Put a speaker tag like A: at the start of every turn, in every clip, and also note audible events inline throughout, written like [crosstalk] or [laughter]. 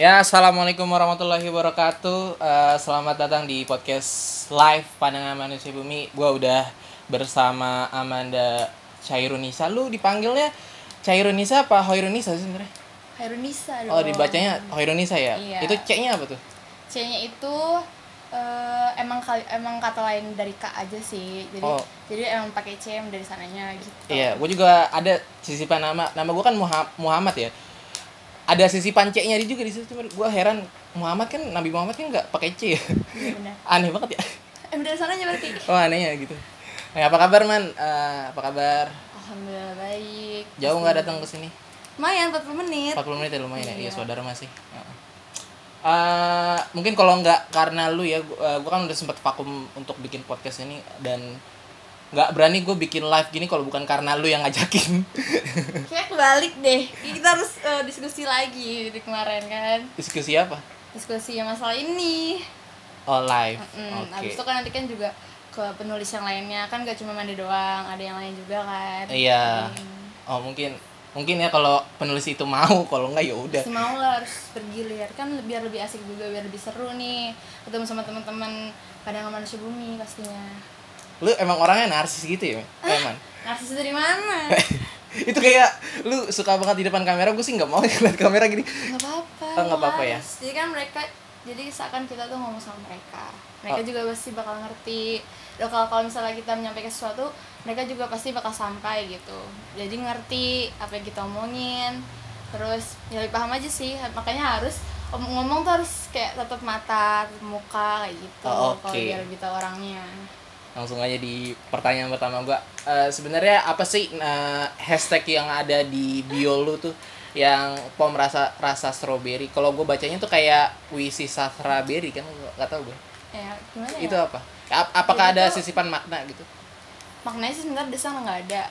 A: Ya, assalamualaikum warahmatullahi wabarakatuh. Eh, selamat datang di podcast live pandangan manusia bumi. Gua udah bersama Amanda Cairunisa. Lu dipanggilnya Cairunisa apa Hoirunisa sih sebenarnya?
B: Hairunisa dong.
A: Oh, dibacanya Hoirunisa ya.
B: Iya.
A: Itu C-nya apa tuh?
B: C-nya itu eh, emang kali emang kata lain dari K aja sih. Jadi
A: Oh.
B: jadi emang pakai C emang dari sananya gitu.
A: Iya, gue juga ada sisipan nama. Nama gue kan Muha- Muhammad ya. Ada sisipan C-nya di juga di situ. Cuma gue heran Muhammad kan Nabi Muhammad kan nggak pakai C. ya? [laughs]
B: Iya benar.
A: Aneh banget ya.
B: Emang dari sananya berarti.
A: Oh, anehnya gitu. Nah, apa kabar, Man? Eh, apa kabar?
B: Alhamdulillah baik.
A: Jauh nggak datang ke sini?
B: Lumayan 40 menit.
A: 40 menit ya lumayan ya. Iya,
B: Iya.
A: saudara masih. Heeh. Eh, mungkin kalau nggak karena lu ya, gua, eh, gua kan udah sempat vakum untuk bikin podcast ini dan nggak berani gue bikin live gini kalau bukan karena lu yang ngajakin. [laughs]
B: Kayak balik deh. Kita harus eh, diskusi lagi di kemarin kan.
A: Diskusi apa?
B: Diskusi yang masalah ini.
A: Oh, live.
B: Hmm,
A: Oke.
B: Habis itu kan nanti kan juga ke penulis yang lainnya kan gak cuma mandi doang, ada yang lain juga kan.
A: Iya.
B: Hmm.
A: Oh, mungkin mungkin ya kalau penulis itu mau, [laughs] kalau nggak ya udah.
B: Pasti mau lah harus bergilir kan biar lebih asik juga biar lebih seru nih ketemu sama teman-teman kadang manusia bumi pastinya
A: Lu emang orangnya narsis gitu ya,
B: [laughs]
A: Eman?
B: narsis dari mana
A: itu kayak lu suka banget di depan kamera gue sih nggak mau [laughs] lihat kamera gini
B: nggak apa-apa
A: Oh, nggak apa-apa ya?
B: Mas. jadi kan mereka jadi seakan kita tuh ngomong sama mereka mereka
A: Oh.
B: juga pasti bakal ngerti Dan kalau kalau misalnya kita menyampaikan sesuatu mereka juga pasti bakal sampai gitu jadi ngerti apa yang kita omongin terus ya lebih paham aja sih makanya harus om- ngomong tuh harus kayak tetap mata tatap muka kayak gitu
A: Oh, oke.
B: kalau biar kita orangnya
A: langsung aja di pertanyaan pertama gua Eh, sebenarnya apa sih eh, hashtag yang ada di bio lu tuh yang pom rasa rasa strawberry kalau gue bacanya tuh kayak wisi strawberry kan gua nggak tahu gue
B: ya gimana
A: itu
B: ya?
A: apa Ap- apakah
B: Jadi
A: ada
B: tuh-
A: sisipan makna gitu
B: maknanya sih sebenarnya di sana nggak ada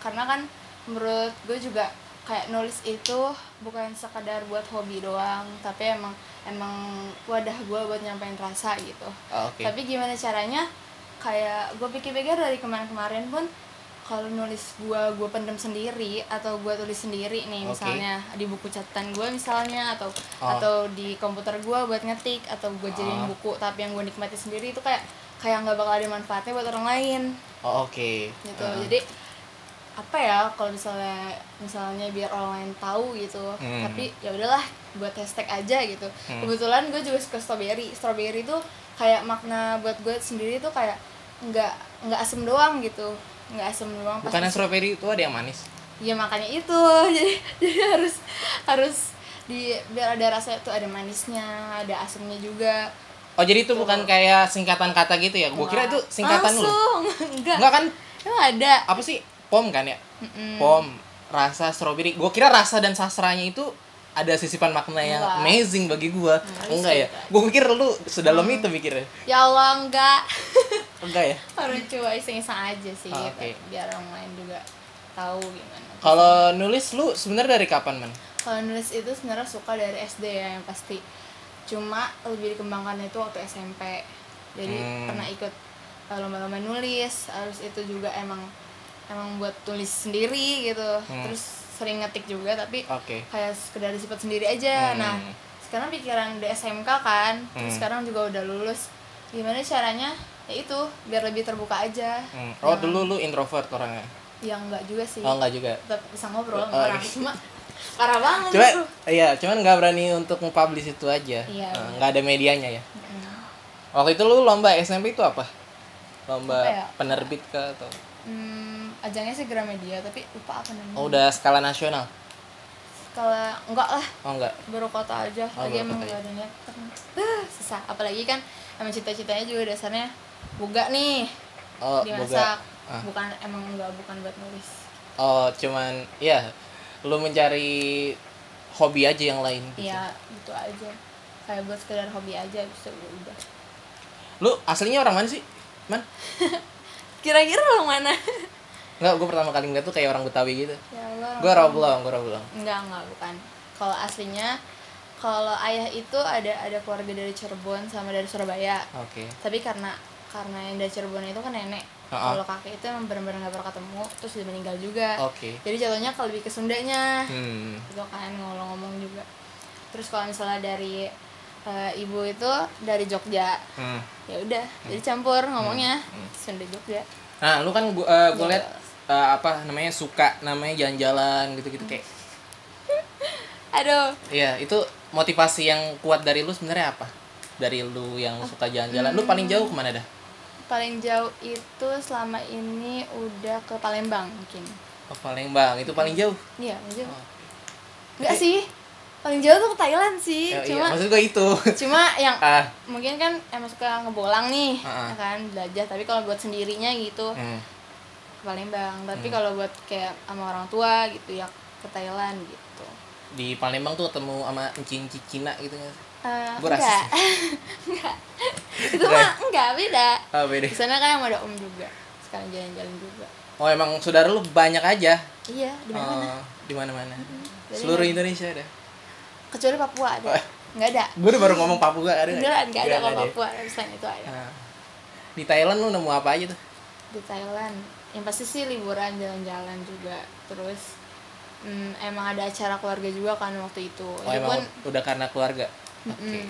B: karena kan menurut gue juga kayak nulis itu bukan sekadar buat hobi doang tapi emang emang wadah gue buat nyampein rasa gitu
A: Oh, oke
B: tapi gimana caranya kayak gue pikir-pikir dari kemarin-kemarin pun kalau nulis gue gue pendem sendiri atau gue tulis sendiri nih
A: Oke.
B: misalnya di buku catatan gue misalnya atau
A: Oh.
B: atau di komputer gue buat ngetik atau gue jadiin
A: Oh.
B: buku tapi yang gue nikmati sendiri itu kayak kayak nggak bakal ada manfaatnya buat orang lain
A: oh, oke
B: gitu
A: Eh,
B: jadi apa ya kalau misalnya misalnya biar orang lain tahu gitu
A: Hmm.
B: tapi ya udahlah buat hashtag aja gitu kebetulan gue juga suka strawberry strawberry tuh kayak makna buat gue sendiri tuh kayak nggak nggak asem doang gitu nggak asem doang pas
A: bukannya strawberry itu ada yang manis
B: ya makanya itu [laughs] jadi jadi harus harus di biar ada rasa tuh ada manisnya ada asemnya juga
A: oh jadi itu bukan kayak singkatan kata gitu ya gue kira itu singkatan lu
B: langsung [laughs] enggak
A: enggak kan
B: emang ada
A: apa sih pom kan ya pom rasa strawberry gue kira rasa dan sastranya itu ada sisipan makna yang
B: Enggak. Mm,
A: amazing bagi gue enggak ya gue pikir lu sedalam itu mikirnya
B: ya allah enggak
A: enggak ya
B: harus coba iseng-iseng aja sih
A: Oh,
B: gitu.
A: oke.
B: biar orang lain juga tahu gimana
A: kalau nulis lu sebenarnya dari kapan man
B: kalau nulis itu sebenarnya suka dari SD ya yang pasti cuma lebih dikembangkan itu waktu SMP jadi
A: Hmm.
B: pernah ikut uh, lomba-lomba nulis harus itu juga emang emang buat tulis sendiri gitu terus sering ngetik juga tapi
A: Hmm. oke
B: kayak sekedar disebut sendiri aja
A: Hmm.
B: nah sekarang pikiran di SMK kan
A: Hmm.
B: terus sekarang juga udah lulus gimana caranya ya itu biar lebih terbuka aja
A: Hmm. oh dulu lu introvert orangnya
B: ya enggak juga sih
A: oh enggak juga
B: tetap bisa ngobrol
A: Oh,
B: parah
A: oke.
B: cuma parah banget
A: Cuma,
B: bro.
A: iya, cuman nggak berani untuk nge-publish itu aja.
B: Iya,
A: Eh,
B: bener.
A: Nggak ada medianya ya.
B: Mm.
A: Waktu itu lu lomba SMP itu apa? Lomba
B: Apa ya?
A: penerbit ke atau?
B: Hmm, ajangnya sih Gramedia tapi lupa apa namanya
A: Oh, udah skala nasional.
B: kalau enggak lah
A: Oh, enggak.
B: baru kota aja
A: Oh,
B: lagi
A: baru
B: emang
A: kota
B: gak ada niat Beuh, susah apalagi kan emang cita-citanya juga dasarnya buka nih
A: Oh, boga.
B: dimasak
A: Ah.
B: bukan emang enggak bukan buat nulis
A: Oh, cuman ya lu mencari hobi aja yang lain. gitu.
B: iya gitu aja kayak buat sekedar hobi aja bisa udah
A: Lu aslinya orang mana sih? Man?
B: kira-kira orang mana
A: Enggak, gue pertama kali ngeliat tuh kayak orang Betawi gitu.
B: ya Allah
A: Gue Rawabelong, gue Rawabelong.
B: Enggak, enggak, bukan. Kalau aslinya kalau ayah itu ada ada keluarga dari Cirebon sama dari Surabaya.
A: Oke.
B: Tapi karena karena yang dari Cirebon itu kan nenek.
A: Ha-ha.
B: Kalau kakek itu emang benar-benar nggak pernah ketemu, terus dia meninggal juga.
A: Oke.
B: Jadi jatuhnya kalau lebih ke Sundanya.
A: Hmm.
B: Gitu kan ngomong-ngomong juga. terus kalau misalnya dari eh, ibu itu dari Jogja
A: Hmm.
B: ya udah jadi campur ngomongnya Sunda Jogja
A: Nah, lu kan gua, eh,
B: Iya.
A: gua liat eh, apa namanya suka namanya jalan-jalan gitu-gitu kayak.
B: aduh
A: Iya, itu motivasi yang kuat dari lu sebenarnya apa? Dari lu yang suka jalan-jalan, lu paling jauh kemana dah?
B: paling jauh itu selama ini udah ke Palembang mungkin
A: Oh, Palembang, itu paling jauh.
B: iya paling jauh
A: Oh.
B: nggak sih paling jauh tuh ke Thailand sih
A: Ya, iya,
B: cuma
A: maksud gua itu. [laughs]
B: cuma yang
A: ah.
B: mungkin kan emang suka ngebolang nih
A: Ah, ah.
B: ya kan belajar tapi kalau buat sendirinya gitu
A: Hmm.
B: ke Palembang tapi kalau buat kayak sama orang tua gitu ya ke Thailand gitu
A: Di Palembang tuh ketemu sama encing Cina gitu nggak sih?
B: Eh,
A: Gua
B: enggak [laughs] enggak itu mah enggak beda
A: Ah, beda.
B: di sana kan emang ada om juga sekarang jalan-jalan juga
A: Oh, emang saudara lu banyak aja.
B: iya di mana
A: Oh, di mana-mana.
B: Jadi
A: Seluruh Indonesia ada.
B: kecuali Papua ada nggak ada
A: Gue udah baru ngomong Papua ada. nggak?
B: beneran nggak ada kalau
A: ya.
B: Papua selain itu ada
A: Nah, di Thailand lu nemu apa aja tuh?
B: di Thailand yang pasti sih liburan jalan-jalan juga terus mm, emang ada acara keluarga juga kan waktu itu
A: Oh,
B: itu
A: emang
B: pun
A: udah karena keluarga.
B: mm,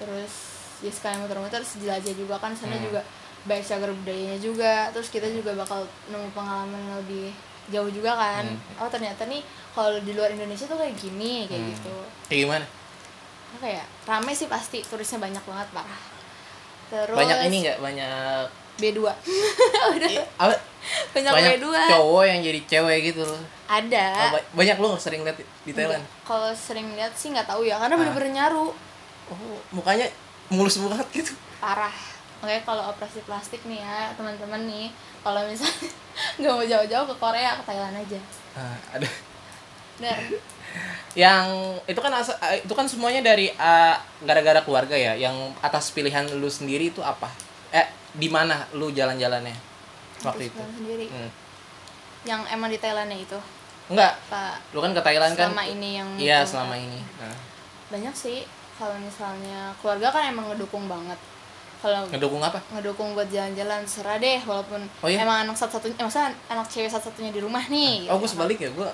B: terus ya sekalian muter-muter terus jelajah juga kan sana
A: Hmm.
B: juga baik cagar budayanya juga terus kita juga bakal nemu pengalaman lebih jauh juga kan
A: Hmm.
B: oh ternyata nih kalau di luar Indonesia tuh kayak gini kayak gitu
A: Kayak gimana?
B: apa ya rame sih pasti turisnya banyak banget parah terus
A: Banyak ini nggak banyak
B: B2 udah
A: apa?
B: [laughs] banyak,
A: banyak
B: B2
A: cowok yang jadi cewek gitu loh.
B: ada
A: Apa- Banyak lu sering lihat di Thailand.
B: kalau sering lihat sih nggak tahu ya
A: Ah.
B: karena bener-bener nyaru
A: Oh, mukanya mulus banget gitu.
B: parah makanya kalau operasi plastik nih ya teman-teman nih kalau misalnya [laughs] nggak mau jauh-jauh ke Korea ke Thailand aja
A: Nah, ada
B: bener
A: yang itu kan asa- eh, itu kan semuanya dari eh, gara-gara keluarga ya. Yang atas pilihan lu sendiri itu apa? Eh, di mana lu jalan-jalannya [laughs] waktu
B: Terus
A: itu?
B: pulang sendiri
A: Hmm.
B: yang emang di Thailandnya itu
A: Enggak,
B: pak
A: lu kan ke Thailand kan?
B: selama ini yang
A: Iya,
B: yang-
A: selama ini. Nah,
B: banyak sih kalau misalnya keluarga kan emang ngedukung banget kalau
A: ngedukung apa?
B: ngedukung buat jalan-jalan serah deh walaupun
A: Oh iya?
B: emang anak satu-satunya eh, maksudnya anak cewek satu-satunya di rumah nih
A: Oh,
B: gitu.
A: gue sebalik ya, gue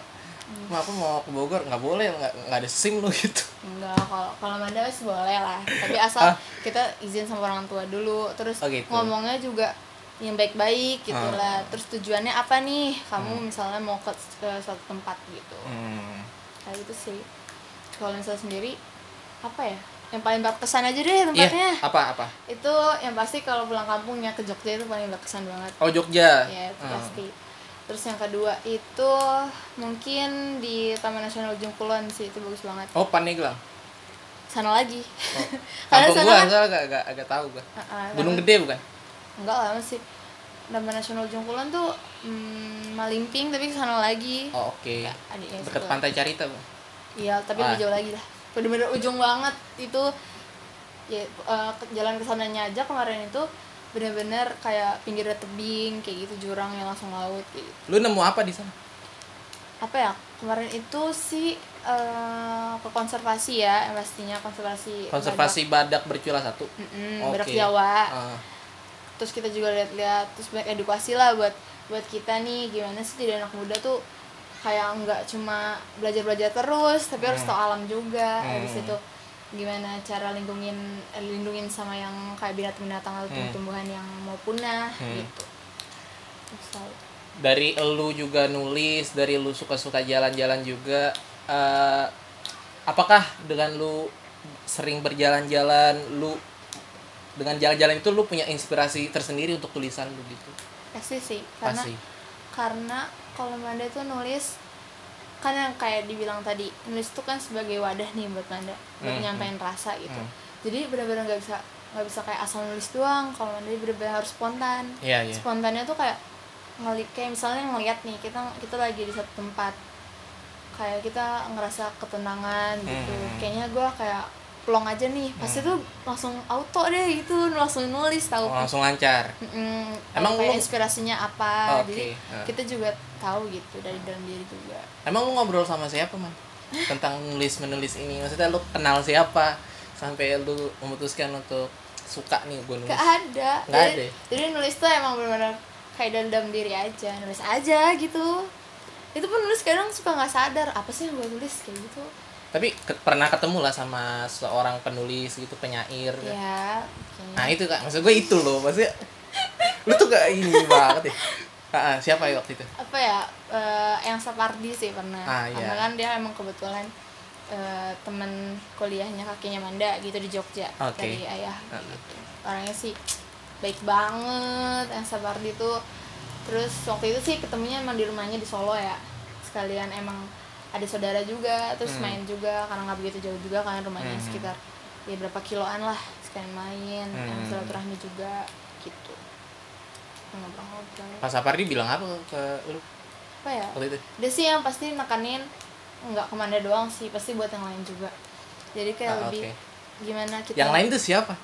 B: Hmm.
A: Mak, aku mau ke Bogor, nggak boleh, nggak, nggak ada SIM lu [laughs] gitu
B: Enggak, kalau kalau Manda wes boleh lah. Tapi asal kita izin sama orang tua dulu, terus
A: Ah. Oh, gitu.
B: ngomongnya juga yang baik-baik gitu
A: Hmm.
B: lah. Terus tujuannya apa nih? Kamu misalnya mau ke, ke suatu tempat gitu.
A: Hmm.
B: Kayak gitu sih. Kalau misalnya sendiri apa ya? Yang paling berkesan aja deh
A: Iya,
B: tempatnya.
A: apa-apa?
B: Itu yang pasti kalau pulang kampung ya ke Jogja itu paling berkesan banget.
A: Oh, Jogja
B: Ya, itu
A: Hmm.
B: pasti. Terus yang kedua itu mungkin di Taman Nasional Ujung Kulon sih itu bagus banget.
A: Oh, Pandeglang
B: [laughs] Sana lagi. Karena
A: Kampung gue
B: sana kan Ah,
A: asal agak, agak, agak tahu gue
B: Heeh,
A: Gunung
B: taman-
A: Gede bukan?
B: enggak lah masih Taman Nasional Ujung Kulon tuh mm, Malimping tapi kesana lagi
A: Oh, oke
B: Iya. Enggak, adiknya
A: Dekat
B: situ.
A: Pantai Carita bukan?
B: iya tapi lebih
A: Ah.
B: jauh lagi lah bener-bener ujung banget itu ya eh, ke- jalan kesananya aja kemarin itu bener-bener kayak pinggir tebing kayak gitu jurang yang langsung laut kayak gitu.
A: Lu nemu apa di sana?
B: apa ya kemarin itu sih eh, ke konservasi ya yang pastinya konservasi
A: Konservasi badak, bercula satu
B: badak, Mm-mm,
A: Oke.
B: badak Jawa
A: Ah.
B: terus kita juga lihat-lihat terus banyak edukasi lah buat buat kita nih gimana sih jadi anak muda tuh kayak nggak cuma belajar belajar terus tapi harus tahu alam juga habis itu gimana cara lindungin eh, lindungin sama yang kayak binatang binatang atau tumbuhan yang mau punah gitu Terus tahu.
A: Dari lu juga nulis, dari lu suka-suka jalan-jalan juga eh, Apakah dengan lu sering berjalan-jalan, lu dengan jalan-jalan itu lu punya inspirasi tersendiri untuk tulisan lu gitu?
B: pasti sih karena
A: Pasti.
B: karena kalau Manda tuh nulis kan yang kayak dibilang tadi nulis itu kan sebagai wadah nih buat Manda buat
A: Hmm,
B: nyampain rasa gitu jadi benar-benar nggak bisa nggak bisa kayak asal nulis doang kalau Manda benar-benar harus spontan
A: Iya, iya.
B: spontannya tuh kayak ngeli kayak misalnya ngelihat nih kita kita lagi di satu tempat kayak kita ngerasa ketenangan
A: Hmm,
B: gitu kayaknya gue kayak plong aja nih pasti tuh langsung auto deh gitu langsung nulis tahu
A: Oh, langsung lancar.
B: Mm,
A: Emang
B: kayak
A: lu-
B: inspirasinya apa?
A: Oke,
B: Jadi
A: ah.
B: kita juga tahu gitu dari dalam diri juga.
A: Emang lu ngobrol sama siapa, Man? Tentang nulis menulis ini. Maksudnya lu kenal siapa sampai lu memutuskan untuk suka nih gue nulis.
B: Gak ada.
A: Nggak
B: jadi,
A: ada ya?
B: jadi nulis tuh emang benar-benar kayak dari dalam diri aja, nulis aja gitu. Itu pun nulis kadang suka nggak sadar apa sih yang gue tulis kayak gitu.
A: Tapi ke- pernah ketemu lah sama seorang penulis gitu, penyair.
B: ya oke.
A: Nah itu kak, maksud gue itu loh, maksudnya lu tuh gak ini banget ya. Ah, ah, siapa ya waktu itu?
B: apa ya eh, yang Sapardi sih pernah
A: Ah, iya.
B: karena kan dia emang kebetulan eh, temen kuliahnya kakinya Manda gitu di Jogja
A: Oke.
B: dari ayah
A: Ah.
B: gitu. orangnya sih baik banget yang Sapardi tuh terus waktu itu sih ketemunya emang di rumahnya di Solo ya sekalian emang ada saudara juga terus
A: Hmm.
B: main juga karena nggak begitu jauh juga kan
A: Hmm.
B: rumahnya sekitar ya berapa kiloan lah sekalian main yang
A: Hmm.
B: silaturahmi juga gitu ngobrol-ngobrol
A: Pak Sapardi bilang apa ke lu
B: apa ya
A: waktu itu?
B: dia sih yang pasti nekanin nggak kemana doang sih pasti buat yang lain juga jadi kayak
A: Ah,
B: lebih
A: oke.
B: gimana kita
A: Yang lain tuh siapa?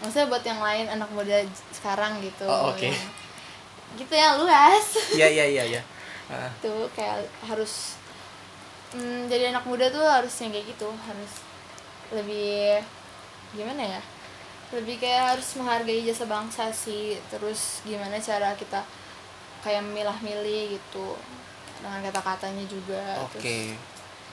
B: maksudnya buat yang lain anak muda j- sekarang gitu
A: Oh, oke.
B: yang- gitu ya luas
A: Iya iya iya iya. Ah,
B: tuh kayak harus mm, jadi anak muda tuh harus yang kayak gitu harus lebih gimana ya lebih kayak harus menghargai jasa bangsa sih terus gimana cara kita kayak milah-milih gitu dengan kata-katanya juga
A: Oke.
B: terus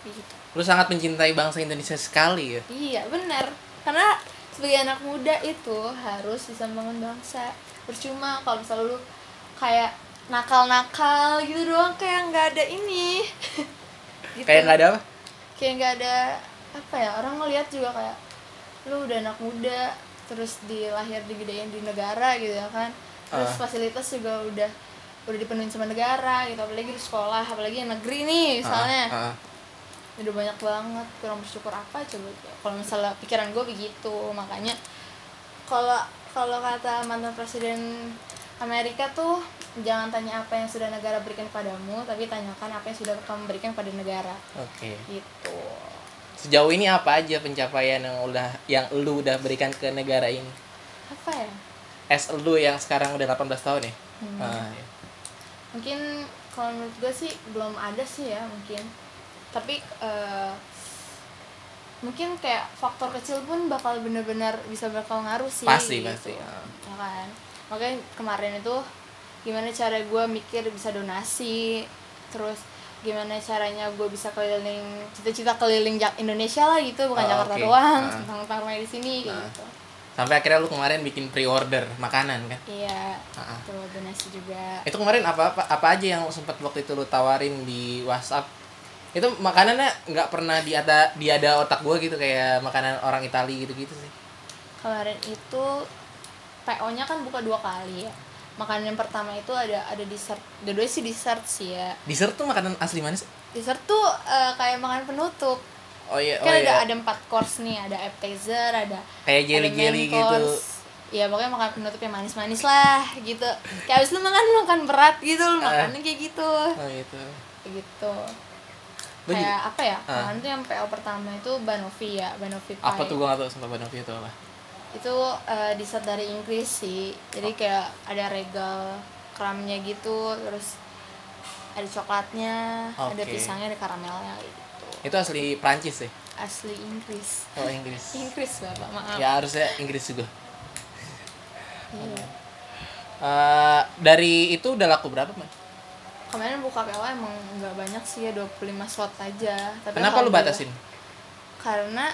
B: kayak gitu
A: Lu sangat mencintai bangsa Indonesia sekali ya.
B: Iya benar karena sebagai anak muda itu harus bisa membangun bangsa percuma kalau misalnya lu kayak nakal-nakal gitu doang kayak nggak ada ini [laughs] gitu.
A: Kayak nggak ada apa?
B: kayak nggak ada apa ya orang ngelihat juga kayak lu udah anak muda terus dilahir digedein di negara gitu ya kan terus
A: Ah.
B: fasilitas juga udah udah dipenuhi sama negara gitu apalagi di sekolah apalagi yang negeri nih misalnya
A: Ah, ah.
B: udah banyak banget kurang bersyukur apa coba kalau misalnya pikiran gue begitu makanya kalau kalau kata mantan presiden Amerika tuh jangan tanya apa yang sudah negara berikan padamu tapi tanyakan apa yang sudah kamu berikan pada negara
A: Oke.
B: gitu
A: Sejauh ini apa aja pencapaian yang udah yang lu udah berikan ke negara ini?
B: apa ya
A: As lu yang sekarang udah 18 tahun ya?
B: Hmm.
A: Ah, iya.
B: mungkin kalau menurut gue sih belum ada sih ya mungkin tapi eh, mungkin kayak faktor kecil pun bakal bener-bener bisa berpengaruh sih
A: Pasti,
B: gitu.
A: pasti, ya.
B: Ya kan makanya kemarin itu gimana cara gue mikir bisa donasi terus gimana caranya gue bisa keliling cita-cita keliling Jak- Indonesia lah gitu bukan
A: Oh,
B: Jakarta
A: oke.
B: doang
A: Ah.
B: tentang tentang main di sini kayak
A: Ah.
B: gitu
A: Sampai akhirnya lu kemarin bikin pre-order makanan kan?
B: iya
A: Ah, ah.
B: tuh donasi juga
A: Itu kemarin apa apa, apa aja yang sempat waktu itu lu tawarin di WhatsApp? Itu makanannya nggak pernah di ada di ada otak gua gitu kayak makanan orang Itali gitu-gitu sih.
B: kemarin itu PO-nya kan buka dua kali ya. Makanan yang pertama itu ada ada dessert. Dua sih dessert sih ya.
A: Dessert tuh makanan asli mana sih?
B: Dessert tuh eh, kayak makanan penutup.
A: Oh iya, oh
B: kan
A: iya.
B: ada ada empat course nih, ada appetizer, ada
A: Kayak
B: ada
A: jelly-jelly
B: main
A: gitu.
B: course. Iya, pokoknya makan penutup yang manis-manis lah gitu. Kayak abis lu makan lu makan berat gitu,
A: Eh.
B: lu makannya kayak gitu.
A: Oh gitu.
B: Kayak gitu.
A: Lu juga-
B: Kayak apa ya?
A: Ah.
B: Makanan tuh yang PO pertama itu banoffee ya, banoffee pie.
A: apa tuh gua nggak tahu sumpah Banoffee itu apa.
B: itu eh, dessert dari Inggris sih
A: Oh.
B: jadi kayak ada regal kramnya gitu terus ada coklatnya ada
A: Oke.
B: pisangnya ada karamelnya gitu
A: Itu asli Prancis sih.
B: asli Inggris
A: Oh Inggris.
B: Inggris bapak maaf
A: ya harusnya Inggris juga.
B: Iya.
A: Eh, dari itu udah laku berapa, Man?
B: kemarin buka PO emang nggak banyak sih ya 25 slot aja tapi
A: Kenapa lu
B: alhamdulillah-
A: batasin?
B: karena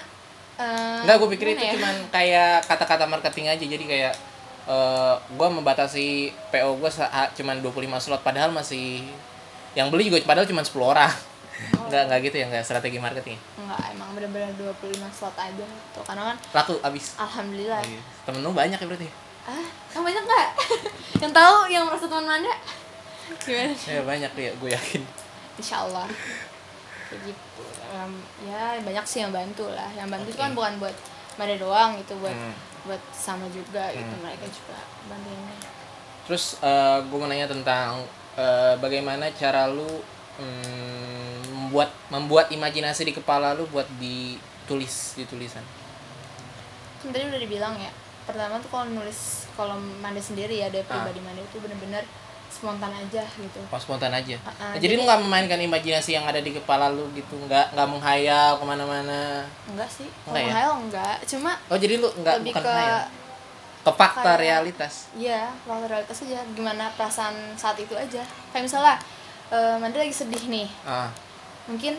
B: eh,
A: Enggak, gue pikir
B: gimana
A: itu
B: ya?
A: cuman kayak kata-kata marketing aja. Jadi kayak eh gue membatasi PO gue cuman 25 slot padahal masih yang beli juga padahal cuman 10 orang.
B: Oh.
A: Enggak, enggak gitu ya, enggak strategi marketing.
B: nggak emang bener-bener 25 slot aja tuh karena kan
A: Laku habis. Iya.
B: alhamdulillah
A: Oh Temen lu banyak ya berarti?
B: ah yang banyak nggak [laughs] yang tahu yang merasa teman manda gimana
A: Ya banyak ya, gue yakin.
B: Insya Allah kayak gitu Em, ya banyak sih yang bantu lah yang bantu itu
A: Oke.
B: kan bukan buat Mada doang gitu buat
A: Hmm.
B: buat sama juga gitu mereka juga bantuinnya
A: Terus gue mau nanya tentang eh, bagaimana cara lu mm, membuat membuat imajinasi di kepala lu buat ditulis di tulisan.
B: kan tadi udah dibilang ya pertama tuh kalau nulis kolom Manda sendiri ya dari
A: Ah.
B: pribadi Manda itu bener-bener spontan aja gitu
A: Oh, spontan aja.
B: Ah, ah,
A: jadi, lu nggak memainkan imajinasi yang ada di kepala lu gitu, nggak nggak menghayal kemana-mana.
B: enggak sih kalau
A: Enggak ya?
B: menghayal enggak cuma
A: Oh jadi lu nggak
B: lebih
A: bukan
B: ke
A: menghayal, ke fakta
B: kayak-
A: realitas.
B: Iya, faktor realitas aja gimana perasaan saat itu aja kayak misalnya eh, Manda lagi sedih nih
A: Ah,
B: mungkin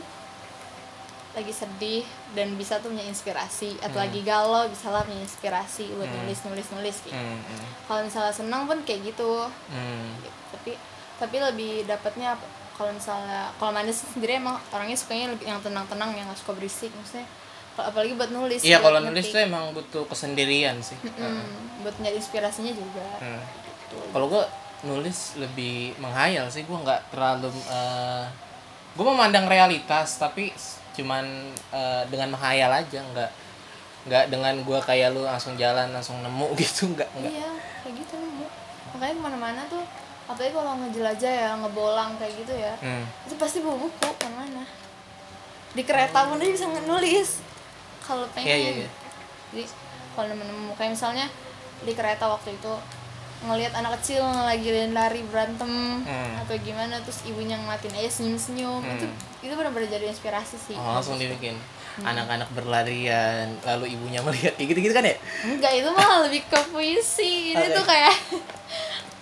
B: lagi sedih dan bisa tuh punya inspirasi atau lagi galau bisa lah punya inspirasi buat
A: Hmm.
B: nulis nulis nulis gitu.
A: Hmm, hmm,
B: Kalau misalnya senang pun kayak gitu.
A: hmm.
B: Gitu. Tapi tapi lebih dapatnya apa- kalau misalnya kalau manis sendiri emang orangnya sukanya lebih yang tenang-tenang yang nggak suka berisik maksudnya. Kalau- Apalagi buat nulis.
A: Iya
B: buat
A: kalau nulis
B: ngetik.
A: tuh emang butuh kesendirian sih.
B: Mm, buat nyari inspirasinya juga.
A: Hmm.
B: Gitu.
A: Kalau gue nulis lebih menghayal sih gue nggak terlalu gue memandang realitas tapi s- cuman eh, dengan menghayal aja nggak nggak dengan gue kayak lu langsung jalan langsung nemu [laughs] gitu nggak nggak
B: Iya, kayak gitu nemu. Makanya kemana-mana tuh, apalagi kalau ngejelajah ya, ngebolang kayak gitu ya,
A: Hmm.
B: itu pasti bawa buku kemana. Di kereta pun dia bisa nulis. Kalau pengen.
A: Iya, iya, iya.
B: Jadi kalau nemu-nemu kayak misalnya di kereta waktu itu ngelihat anak kecil lagi lari berantem
A: Hmm.
B: atau gimana terus ibunya ngeliatin aja senyum-senyum itu itu benar-benar jadi inspirasi [laughs] sih
A: Hmm. Oh, langsung dibikin
B: Hmm.
A: anak-anak berlarian lalu ibunya melihat kayak gitu-gitu kan ya
B: enggak itu malah lebih ke puisi ini
A: Oke.
B: tuh
A: [laughs]
B: kayak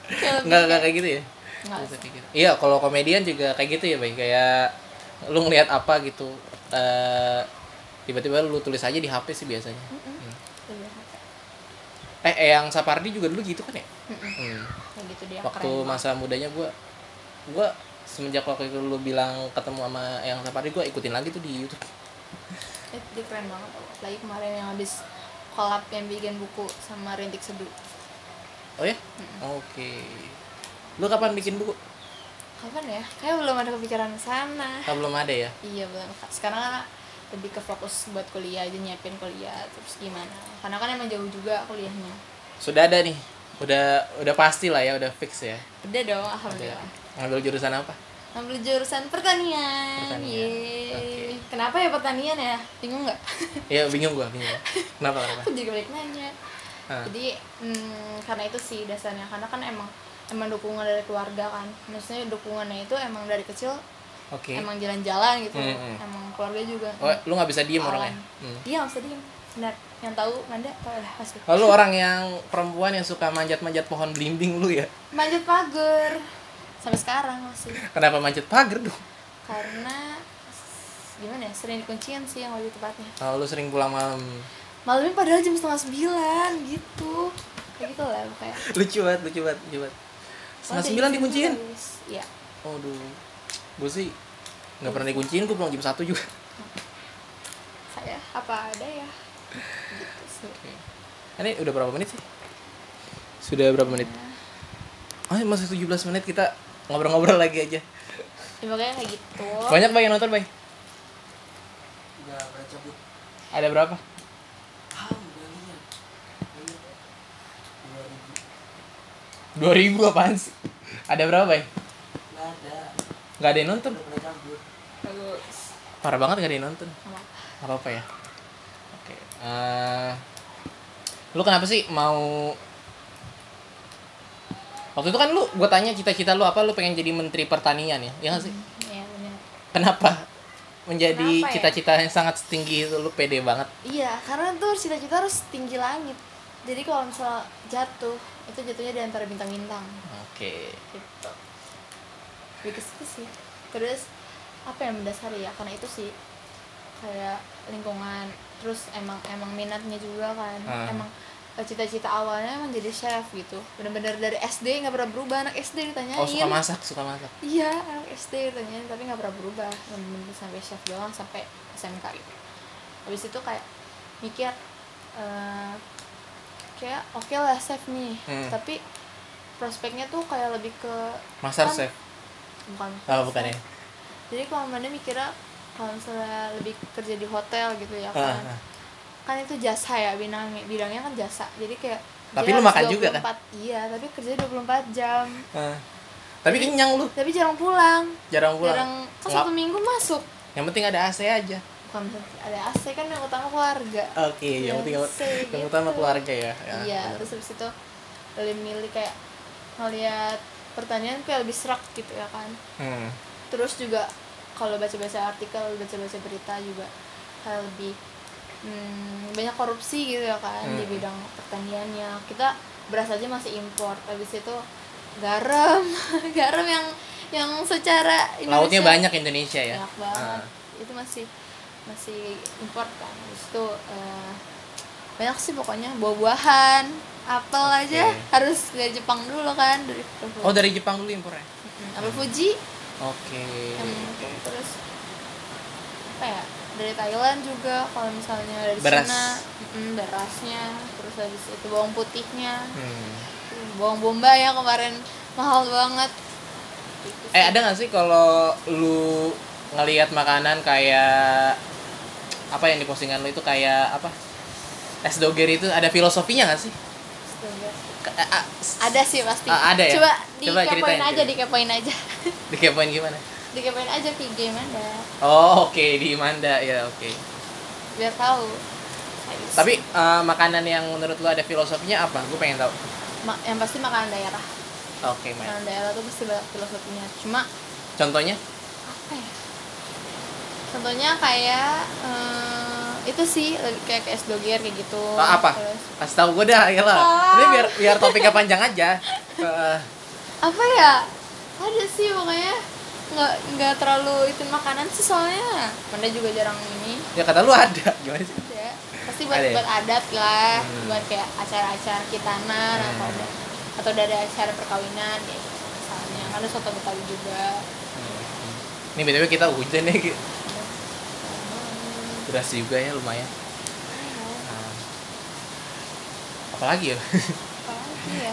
B: kayak lebih
A: nggak nggak kayak gitu ya
B: Nggak.
A: Nggak kayak gitu. iya kalau komedian juga kayak gitu ya bay kayak lu ngeliat apa gitu eh, tiba-tiba lu tulis aja di HP sih biasanya
B: lebih
A: eh, eh yang Sapardi juga dulu gitu kan ya Hmm.
B: kayak gitu dia
A: waktu
B: keren
A: masa mudanya gua gua semenjak waktu itu lu bilang ketemu sama yang Sapardi gua ikutin lagi tuh di YouTube
B: Eh, dia keren banget lagi kemarin yang habis collab yang bikin buku sama Rintik Seduh
A: oh ya oke lu kapan bikin buku
B: kapan ya kayak belum ada kepikiran ke sana
A: Ah, belum ada ya
B: iya belum sekarang kan lebih ke fokus buat kuliah aja nyiapin kuliah terus gimana karena kan emang jauh juga kuliahnya
A: sudah ada nih udah udah pasti lah ya udah fix ya
B: udah dong
A: iya.
B: alhamdulillah
A: ngambil jurusan apa
B: ambil jurusan pertanian,
A: Pertanian,
B: Yeay.
A: oke.
B: kenapa ya pertanian ya bingung nggak
A: ya bingung gua bingung kenapa kenapa
B: [laughs] aku juga balik nanya
A: Ah.
B: jadi mm, karena itu sih dasarnya karena kan emang emang dukungan dari keluarga kan maksudnya dukungannya itu emang dari kecil
A: oke
B: emang jalan-jalan gitu
A: Hmm, hmm.
B: emang keluarga juga
A: Oh, lu nggak bisa diem orangnya. Hmm.
B: dia nggak bisa diem benar Oh. Iya, yang tahu manda tahu lah pasti
A: Lalu orang yang perempuan yang suka manjat-manjat pohon belimbing lu ya.
B: manjat pagar sampai sekarang masih
A: Kenapa manjat pagar dong?
B: karena s- gimana ya sering dikunciin sih yang lebih tepatnya
A: Kalau Oh, lu sering pulang malam.
B: malamnya padahal jam setengah sembilan gitu kayak gitu lah kayak
A: [laughs] Lucu banget, lucu banget, lucu banget. Setengah sembilan kan? dikunciin.
B: Iya.
A: Aduh. Gue sih nggak pernah dikunciin, gue pulang jam satu juga.
B: saya apa ada ya gitu sih
A: Ini udah berapa menit sih? Sudah berapa menit? Oh, masih 17 menit kita ngobrol-ngobrol lagi aja.
B: ya, makanya kayak gitu
A: Banyak bay yang nonton bay. Ada berapa? Dua ribu apaan sih? Ada berapa bay? Gak ada yang nonton.
B: bagus
A: Parah banget gak ada yang nonton.
B: Apa?
A: Gak apa-apa ya. Oke. eh, lu kenapa sih mau Waktu itu kan lu gua tanya cita-cita lu apa lu pengen jadi menteri pertanian ya? Iya gak sih?
B: Iya, bener.
A: Kenapa menjadi
B: Kenapa ya?
A: cita-cita yang sangat setinggi itu lu pede banget?
B: iya karena tuh cita-cita harus tinggi langit jadi kalau misal jatuh itu jatuhnya di antara bintang-bintang
A: Oke.
B: gitu lebih ke situ sih terus apa yang mendasari ya karena itu sih kayak lingkungan terus emang emang minatnya juga kan
A: Ah.
B: emang eh, cita-cita awalnya emang jadi chef gitu bener-bener dari SD nggak pernah berubah anak SD ditanyain
A: Oh, suka masak, suka masak.
B: iya anak SD ditanyain tapi nggak pernah berubah bener-bener sampai chef doang sampai SMK gitu habis itu kayak mikir eh, kayak oke lah chef nih
A: Hmm.
B: tapi prospeknya tuh kayak lebih ke
A: Master
B: Kan-
A: chef.
B: bukan
A: Oh, bukan ya.
B: jadi kalau mana mikirnya kalau misalnya lebih kerja di hotel gitu ya
A: Ah,
B: kan
A: ah.
B: kan itu jasa ya bidangnya bidangnya kan jasa jadi kayak
A: Tapi
B: kerja
A: lu makan juga, kan?
B: 24 iya tapi kerja 24 jam
A: Ah. Tapi kenyang lu,
B: tapi jarang pulang
A: jarang pulang.
B: jarang
A: Nggak-
B: kan satu minggu masuk
A: Yang penting ada AC aja.
B: bukan ada AC kan yang utama keluarga
A: Oke, yang
B: Iya,
A: penting
B: sih,
A: yang
B: gitu.
A: utama keluarga ya. Ya,
B: iya
A: benar.
B: terus habis itu lebih milih kayak ngelihat pertanyaan kayak lebih serak gitu ya kan
A: Hmm.
B: terus juga kalau baca-baca artikel baca-baca berita juga hal lebih hmm, banyak korupsi gitu ya kan
A: Hmm.
B: di bidang pertaniannya kita beras aja masih impor habis itu garam [laughs] garam yang yang secara
A: Lautnya
B: Indonesia-
A: banyak Indonesia ya.
B: banyak banget
A: Ah.
B: itu masih masih import kan habis itu eh, banyak sih pokoknya buah-buahan apel
A: Oke.
B: aja harus dari Jepang dulu kan dari
A: Oh dari Jepang dulu impornya.
B: Mm, apel Fuji
A: Oke.
B: yang terus apa ya dari Thailand juga kalau misalnya dari
A: Beras.
B: Cina mm, berasnya terus habis itu bawang putihnya
A: Hmm.
B: bawang bombay yang kemarin mahal banget
A: Eh
B: Gitu sih.
A: ada nggak sih kalau lu ngelihat makanan kayak apa yang dipostingan lu itu kayak apa es doger itu ada filosofinya nggak sih?
B: Astaga.
A: Ke- a- a- s-
B: ada sih pasti
A: Ah, ada ya?
B: coba
A: Coba
B: dikepoin
A: ceritain,
B: aja
A: ceritain.
B: dikepoin aja
A: Dikepoin gimana?
B: dikepoin aja kayak gimana
A: Oh oke di Imanda ya oke.
B: biar tahu Habis.
A: Tapi eh, makanan yang menurut lu ada filosofinya apa? Gue pengen tahu.
B: Ma- yang pasti makanan daerah
A: Oke, Mai.
B: makanan daerah tuh pasti banyak filosofinya cuma
A: Contohnya?
B: apa ya contohnya kayak eh, itu sih lebih kayak ke es doger kayak gitu
A: Oh, apa?
B: Terus,
A: Kasih tahu gue dah, ya lah.
B: Ah.
A: Ini biar biar topiknya panjang aja. Eh,
B: apa ya ada sih pokoknya nggak nggak terlalu itu makanan sih soalnya Manda juga jarang ini
A: ya kata lu ada. Gimana sih?
B: ya pasti buat
A: Ada ya?
B: buat adat lah
A: Hmm.
B: buat kayak acara-acara kitanan
A: Hmm.
B: atau ada- atau dari acara perkawinan kayak gitu misalnya kan ada soto betawi juga
A: Ini btw kita hujan nih, Ki. deras juga ya lumayan. Nah, apalagi ya? [laughs]
B: apalagi ya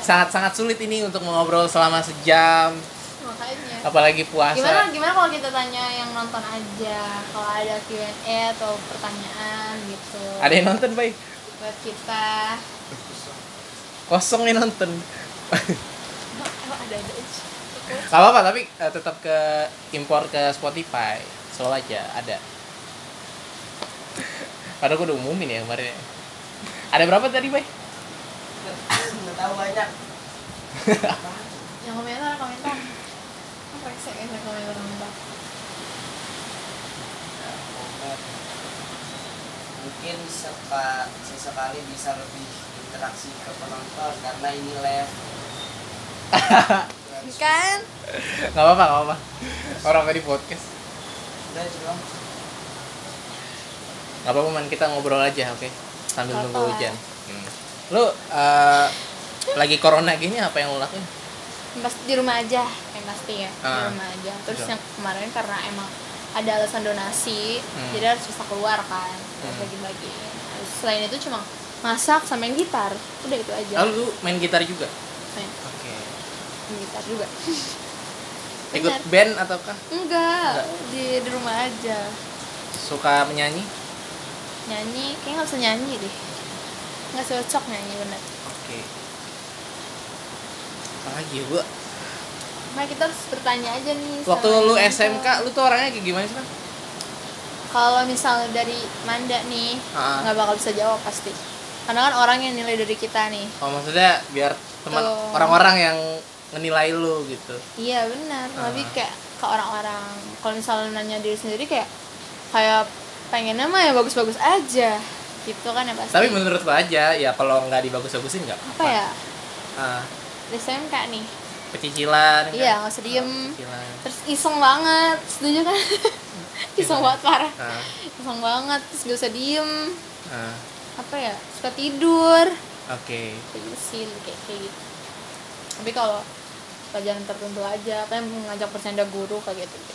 A: Sangat-sangat sulit ini untuk mengobrol selama sejam,
B: makanya
A: apalagi puasa.
B: gimana gimana kalau kita tanya yang nonton aja kalau ada Q&A atau pertanyaan gitu
A: Ada ya? yang nonton, Bay?
B: buat kita
A: Kosong nih nonton.
B: Emang- emang Oh, ada ada aja
A: Gak apa-apa, tapi eh, tetap ke impor ke Spotify. Soal aja, ada. Padahal gue udah umumin ya kemarin. ya. Ada berapa tadi, Bay?
C: nggak tahu banyak
B: yang komentar komentar apa sih yang komentar komentar
C: mungkin seka, sesekali bisa lebih interaksi ke penonton karena ini live
B: kan
A: Gak apa-apa, gak apa-apa. Orang tadi podcast.
C: udah cuma
A: Gak apa-apa, man. Kita ngobrol aja, oke? Sambil
B: Gak
A: nunggu
B: apa-apa.
A: hujan. Hmm. Lu eh, lagi corona gini apa yang lu lakuin?
B: Yang pasti di rumah aja yang pasti ya di
A: Ah.
B: rumah aja terus
A: Betul.
B: yang kemarin karena emang ada alasan donasi
A: Hmm.
B: jadi harus bisa keluar kan terus
A: Hmm.
B: bagi-bagi Terus selain itu cuma masak sama main gitar udah itu aja
A: Lalu lu main gitar juga?
B: main,
A: Oke.
B: main gitar juga
A: Ikut
B: Benar.
A: band ataukah
B: enggak di, di rumah aja
A: suka menyanyi?
B: nyanyi kayak nggak bisa nyanyi deh nggak cocok nyanyi bener
A: Oke. Apalagi ya, gue
B: makanya kita harus bertanya aja nih
A: Waktu
B: sama
A: lu
B: yang gitu.
A: SMK, lu tuh orangnya kayak gimana sih, Bang?
B: kalau misalnya dari Manda nih
A: Ah.
B: nggak bakal bisa jawab pasti karena kan orang yang nilai dari kita nih
A: Oh, maksudnya biar teman
B: Tuh.
A: orang-orang yang menilai lu gitu.
B: iya benar
A: Ah.
B: tapi kayak ke orang-orang kalau misalnya nanya diri sendiri kayak kayak pengennya mah ya bagus-bagus aja gitu kan ya pasti
A: Tapi menurut gua aja, ya kalau nggak dibagus-bagusin nggak
B: apa ya
A: Ah,
B: di SMK nih
A: pecicilan. kan?
B: Iya, nggak usah diem.
A: Ah, pecicilan.
B: terus iseng banget setuju
A: [laughs]
B: kan iseng banget parah
A: Ah,
B: iseng banget terus gak usah diem
A: ah,
B: apa ya suka tidur
A: Oke.
B: kayak gitu sih kayak kayak gitu tapi kalau pelajaran tertentu aja apa yang mengajak bercanda guru kayak gitu, gitu.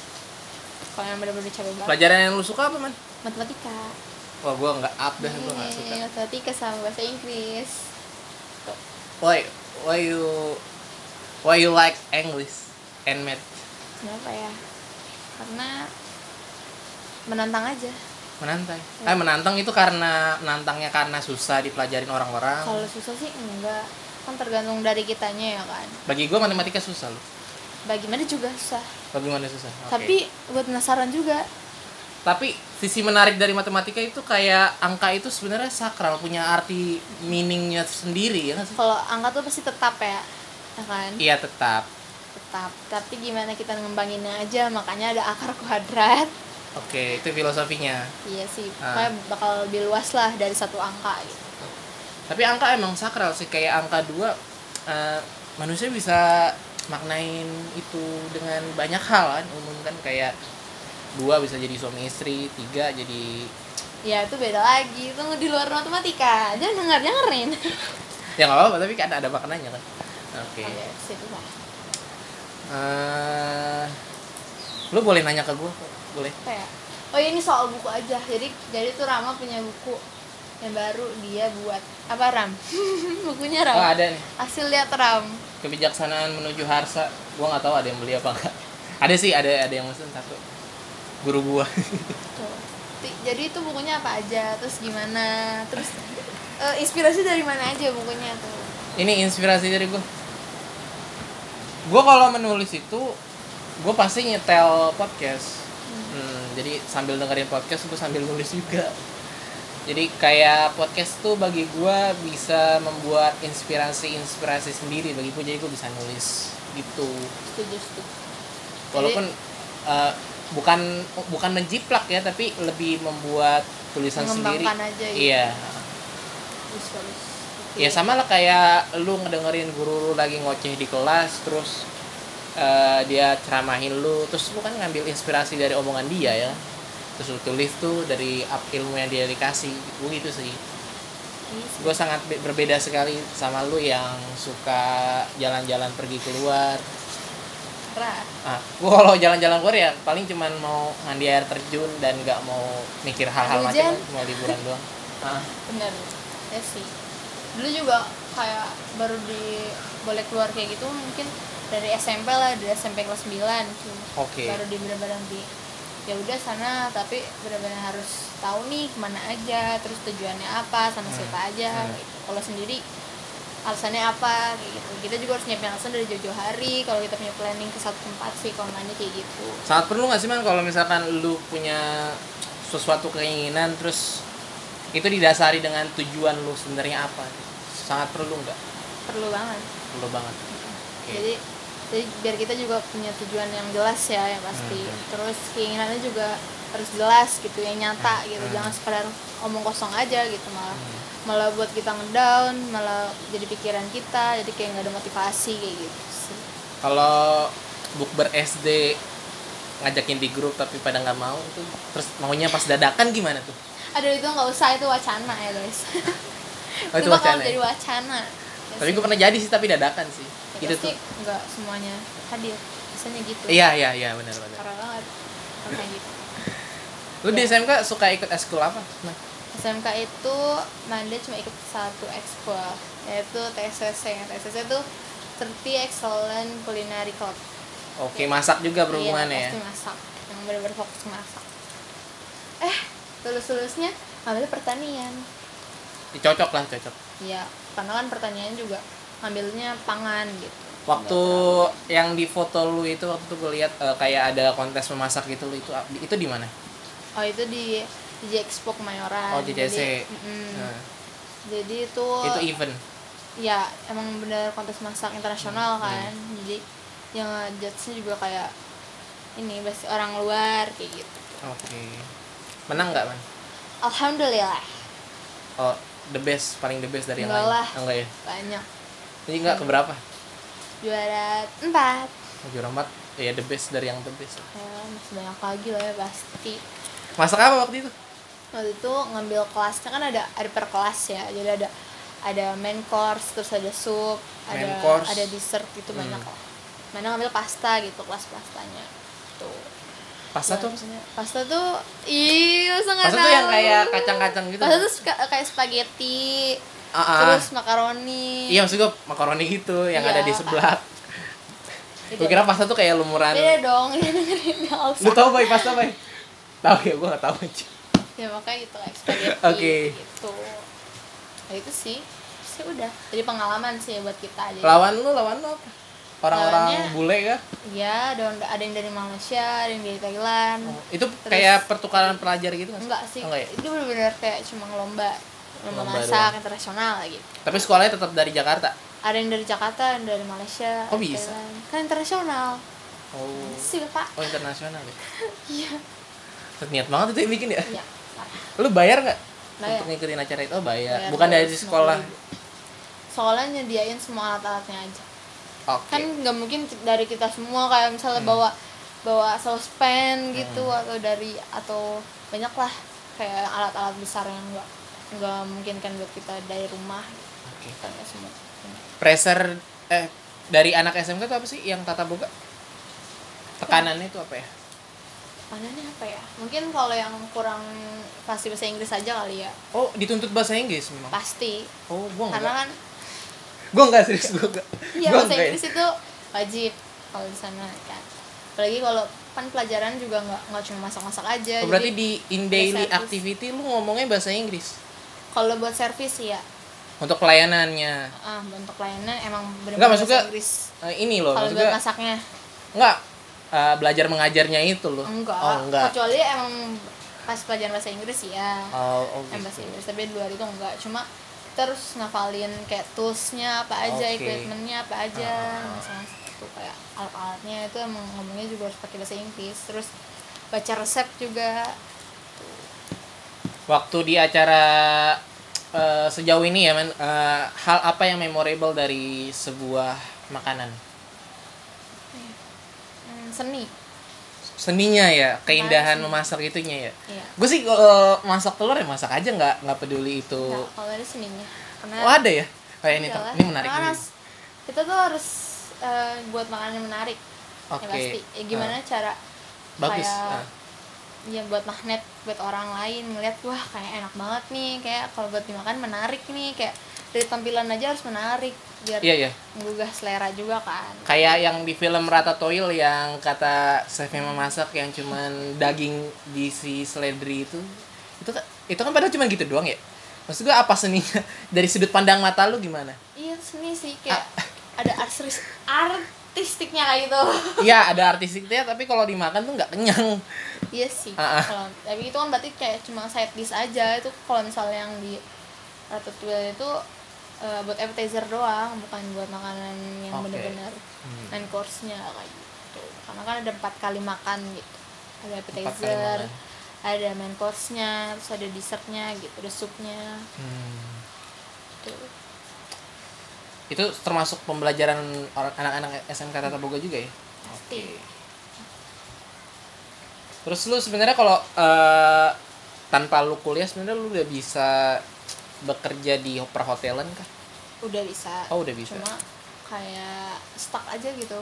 B: kalau yang benar-benar capek banget
A: Pelajaran yang lu suka apa, Man?
B: matematika
A: Wah, gua nggak up dah, gua nggak suka.
B: Yeay, matematika sama bahasa Inggris
A: Why, why you, why you like English and math?
B: kenapa ya karena menantang aja
A: Menantang. Eh,
B: Iya.
A: menantang itu karena menantangnya karena susah dipelajarin orang-orang.
B: kalau susah sih enggak kan tergantung dari kitanya ya kan
A: Bagi gua matematika susah loh.
B: bagaimana juga susah
A: Bagaimana susah? Oke.
B: tapi buat penasaran juga
A: tapi sisi menarik dari matematika itu kayak angka itu sebenarnya sakral punya arti meaningnya sendiri ya nggak sih?
B: kalau angka tuh pasti tetap ya ya kan
A: Iya tetap.
B: tetap tapi gimana kita ngembanginnya aja makanya ada akar kuadrat
A: Oke, itu filosofinya.
B: iya sih
A: Ah.
B: pokoknya bakal lebih luas lah dari satu angka gitu
A: Tapi angka emang sakral sih kayak angka dua eh, manusia bisa maknain itu dengan banyak hal kan umum kan kayak dua bisa jadi suami istri tiga jadi
B: ya itu beda lagi itu di luar matematika aja dengar dengerin
A: ya nggak apa-apa tapi kan ada makanannya kan oke
B: Oke, situ lah
A: Eh, lu boleh nanya ke gue boleh
B: apa ya oh ini soal buku aja jadi jadi tuh Rama punya buku yang baru dia buat apa Ram [laughs]
A: oh
B: bukunya Ram
A: ada nih
B: hasil lihat Ram
A: kebijaksanaan menuju harsa gue nggak tahu ada yang beli apa enggak ada sih ada ada yang mesen satu guru gua
B: Tuh. Ti- jadi itu bukunya apa aja terus gimana terus eh, inspirasi dari mana aja bukunya tuh
A: ini inspirasi dari gue gue kalau menulis itu gue pasti nyetel podcast Hmm, jadi sambil dengerin podcast gue sambil nulis juga jadi kayak podcast tuh bagi gue bisa membuat inspirasi-inspirasi sendiri bagi gue jadi gue bisa nulis gitu
B: setuju setuju
A: walaupun eh, bukan bukan menjiplak ya tapi lebih membuat tulisan sendiri
B: mengembangkan aja gitu
A: iya
B: Bagus, bagus. Oke.
A: Ya sama lah kayak lu ngedengerin guru lu lagi ngoceh di kelas terus eh, dia ceramahin lu terus lu kan ngambil inspirasi dari omongan dia ya. Terus lu tulis tuh dari ap- ilmu yang dia dikasih gue gitu sih.
B: Ini
A: Gue sangat be- berbeda sekali sama lu yang suka jalan-jalan pergi keluar.
B: Ra.
A: Ah, gue kalau jalan-jalan keluar ya paling cuman mau mandi air terjun dan nggak mau mikir hal-hal macam
B: Hujan.
A: mau liburan doang. Ah,
B: bener ya sih dulu juga kayak baru di boleh keluar kayak gitu mungkin dari SMP lah dari SMP kelas 9 tuh
A: Oke.
B: baru di bener-bener di ya udah sana tapi bener-bener harus tahu nih kemana aja terus tujuannya apa sama siapa aja
A: Hmm.
B: gitu. kalau sendiri alasannya apa kayak gitu kita juga harus nyiapin alasan dari jauh-jauh hari kalau kita punya planning ke satu tempat sih kalau nggak kayak gitu
A: sangat perlu nggak sih man kalau misalkan lu punya sesuatu keinginan terus itu didasari dengan tujuan lu sebenarnya apa sangat perlu nggak
B: perlu banget
A: perlu banget Oke.
B: jadi jadi biar kita juga punya tujuan yang jelas ya yang pasti
A: Hmm.
B: terus keinginannya juga harus jelas gitu yang nyata gitu
A: Hmm.
B: jangan sekedar omong kosong aja gitu malah
A: Hmm.
B: malah buat kita ngedown malah jadi pikiran kita jadi kayak nggak ada motivasi kayak gitu sih
A: kalau bukber SD ngajakin di grup tapi pada nggak mau itu terus maunya pas dadakan gimana
B: [laughs]
A: tuh
B: aduh itu nggak usah itu wacana ya guys [laughs]
A: Oh, itu
B: itu
A: wacana
B: bakal
A: ya?
B: jadi wacana Ya
A: tapi
B: sih.
A: gue pernah jadi sih tapi dadakan sih
B: Ya
A: gitu
B: pasti
A: tuh
B: nggak semuanya hadir biasanya gitu
A: iya iya iya benar benar
B: karena banget Kalau kayak gitu
A: lu di SMK suka ikut eskul apa Man?
B: SMK itu Manda cuma ikut satu ekskul yaitu TSCC yang TSCC itu 30 Excellent Culinary Club
A: oke masak juga berhubungannya
B: iya,
A: ya
B: pasti masak yang benar-benar fokus masak eh lulus-lulusnya ngambil pertanian
A: cocok lah cocok
B: ya karena kan pertanian juga ngambilnya pangan gitu
A: waktu yang di foto lu itu waktu itu gue lihat eh, kayak ada kontes memasak gitu lu itu itu di mana
B: oh itu di di Expo Kemayoran
A: Oh, JJC.
B: Jadi, mm-mm.
A: Nah,
B: jadi itu
A: itu event
B: ya emang bener kontes masak
A: Hmm.
B: internasional kan jadi yang judge-nya juga kayak ini bas- orang luar kayak gitu
A: oke menang nggak man
B: alhamdulillah
A: oh the best paling the best dari yang
B: Enggak
A: lain
B: lah.
A: Oh, enggak ya
B: banyak
A: jadi nggak keberapa
B: juara empat
A: oh, juara empat ya the best dari yang the best
B: ya, masih banyak lagi lah ya pasti
A: masak apa waktu itu
B: waktu itu ngambil kelasnya kan ada ada per kelas ya jadi ada ada main course terus ada soup ada
A: Main course.
B: ada dessert gitu
A: Hmm.
B: banyak lah mana ngambil pasta gitu kelas pastanya tuh
A: pasta tuh apa sih?
B: pasta tuh ih masa nggak
A: pasta tuh yang
B: tahu?
A: kayak kacang-kacang gitu
B: Pasta tuh suka- kayak spaghetti,
A: Ah, ah.
B: terus makaroni.
A: iya maksud gue makaroni gitu yang ada
B: Iya.
A: di sebelah
B: Gitu.
A: gue kira pasta tuh kayak lumuran
B: Beda dong, [laughs] ini dengerin yang
A: lu
B: Alsa.
A: tau boy pasta boy tau ya gue nggak tahu aja
B: Ya makanya gitu kayak spaghetti
A: Oke.
B: gitu. Nah, itu sih. Sih udah. Jadi pengalaman sih buat kita aja.
A: lawan lu lawan lu apa orang-orang
B: Lawannya-
A: bule kan
B: Ya, ada ada yang dari Malaysia, ada yang dari Thailand.
A: itu kayak pertukaran pelajar gitu nggak sih?
B: Hmm. Enggak sih.
A: Oh, enggak ya?
B: Itu benar-benar kayak cuma lomba lomba
A: Lomba
B: masak internasional gitu.
A: tapi sekolahnya tetap dari Jakarta
B: Ada yang dari Jakarta, yang dari Malaysia,
A: Oh, bisa?
B: Thailand. Kan internasional.
A: oh
B: Sih, Pak.
A: oh internasional ya
B: [laughs] Iya.
A: Set niat banget itu yang bikin ya
B: Iya. parah.
A: lu bayar nggak
B: Bayar.
A: untuk ngikutin acara itu oh bayar,
B: Bayar
A: bukan dari
B: 250.000.
A: sekolah
B: gitu. Soalnya nyediain semua alat-alatnya aja.
A: oke Hmm.
B: Kan nggak mungkin dari kita semua kayak misalnya bawa bawa saucepan gitu atau dari atau banyak lah kayak alat-alat besar yang nggak nggak memungkinkan buat kita dari rumah
A: Oke.
B: Kayak semua.
A: Pressure eh dari anak SMK itu apa sih yang tata boga? Tekanannya itu apa ya?
B: Panahnya apa ya? Mungkin kalau yang kurang pasti bahasa Inggris aja kali ya.
A: Oh, dituntut bahasa Inggris memang.
B: Pasti.
A: Oh, gua
B: Karena
A: enggak.
B: kan
A: Gua enggak serius gua enggak.
B: Iya
A: Gua
B: bahasa
A: enggak ya.
B: Inggris itu wajib kalau di sana kan. Apalagi kalau kan pelajaran juga nggak nggak cuma masak-masak aja.
A: Oh, berarti
B: jadi
A: di in daily
B: service.
A: activity lu ngomongnya bahasa Inggris
B: kalau buat servis ya,
A: untuk pelayanannya.
B: ah bentuk layanan emang
A: Nggak,
B: benar-benar
A: maksudnya-
B: bahasa Inggris.
A: Eh, ini loh,
B: Kalau buat
A: maksudnya
B: masaknya
A: enggak eh, belajar mengajarnya itu loh.
B: enggak.
A: Oh, enggak.
B: Kecuali emang pas pelajaran bahasa Inggris ya.
A: Oh, oh,
B: Yang
A: gitu.
B: bahasa Inggris tapi di luar itu enggak. Cuma terus ngafalin kayak toolsnya apa aja,
A: Oke.
B: equipmentnya apa aja,
A: Ah.
B: masak-masak itu kayak alat-alatnya itu emang ngomongnya juga harus pakai bahasa Inggris. Terus baca resep juga
A: Waktu di acara eh, sejauh ini ya, men, eh, hal apa yang memorable dari sebuah makanan?
B: Hmm, seni
A: Seninya ya, keindahan
B: Menarik sih.
A: memasak itunya ya.
B: iya
A: Gue sih kalau masak telur ya masak aja nggak nggak peduli itu.
B: nah, kalau dari seninya karena
A: Wah ada ya? Kayak ini,
B: iyalah,
A: ini menarik.
B: karena
A: nih.
B: harus- kita tuh harus eh, buat makanan yang menarik
A: Oke.
B: ya pasti Ya, gimana cara
A: Ah, bagus.
B: kayak-
A: Ah.
B: ya buat magnet buat orang lain ngeliat wah kayak enak banget nih kayak kalau buat dimakan menarik nih kayak dari tampilan aja harus menarik biar
A: Iya iya.
B: menggugah selera juga kan
A: Kayak yang di film Ratatouille yang kata chefnya memasak yang cuman daging diisi seledri itu. Itu kan- itu kan padahal cuman gitu doang ya. Maksud gue apa seninya? [laughs] Dari sudut pandang mata lu gimana?
B: iya seni sih kayak
A: Ah.
B: ada artis artistiknya kayak
A: [laughs]
B: gitu
A: Iya ada artistiknya tapi kalau dimakan tuh nggak kenyang.
B: Iya sih.
A: Ah, ah.
B: Kalau tapi itu kan berarti kayak cuma side dish aja itu kalau misalnya yang di Ratatouille itu eh, buat appetizer doang, bukan buat makanan yang
A: Oke. Hmm.
B: bener-bener main course-nya kayak gitu. Karena kan ada empat kali makan gitu. Ada
A: kali
B: appetizer,
A: makan.
B: ada main course-nya, terus ada dessert-nya gitu, ada supnya gitu.
A: Itu termasuk pembelajaran orang anak-anak SMK Tata Boga juga ya.
B: Pasti.
A: Terus lu sebenarnya kalau eh, tanpa lu kuliah sebenarnya lu udah bisa bekerja di perhotelan kah?
B: Udah bisa.
A: Oh, udah bisa.
B: Cuma kayak stuck aja gitu.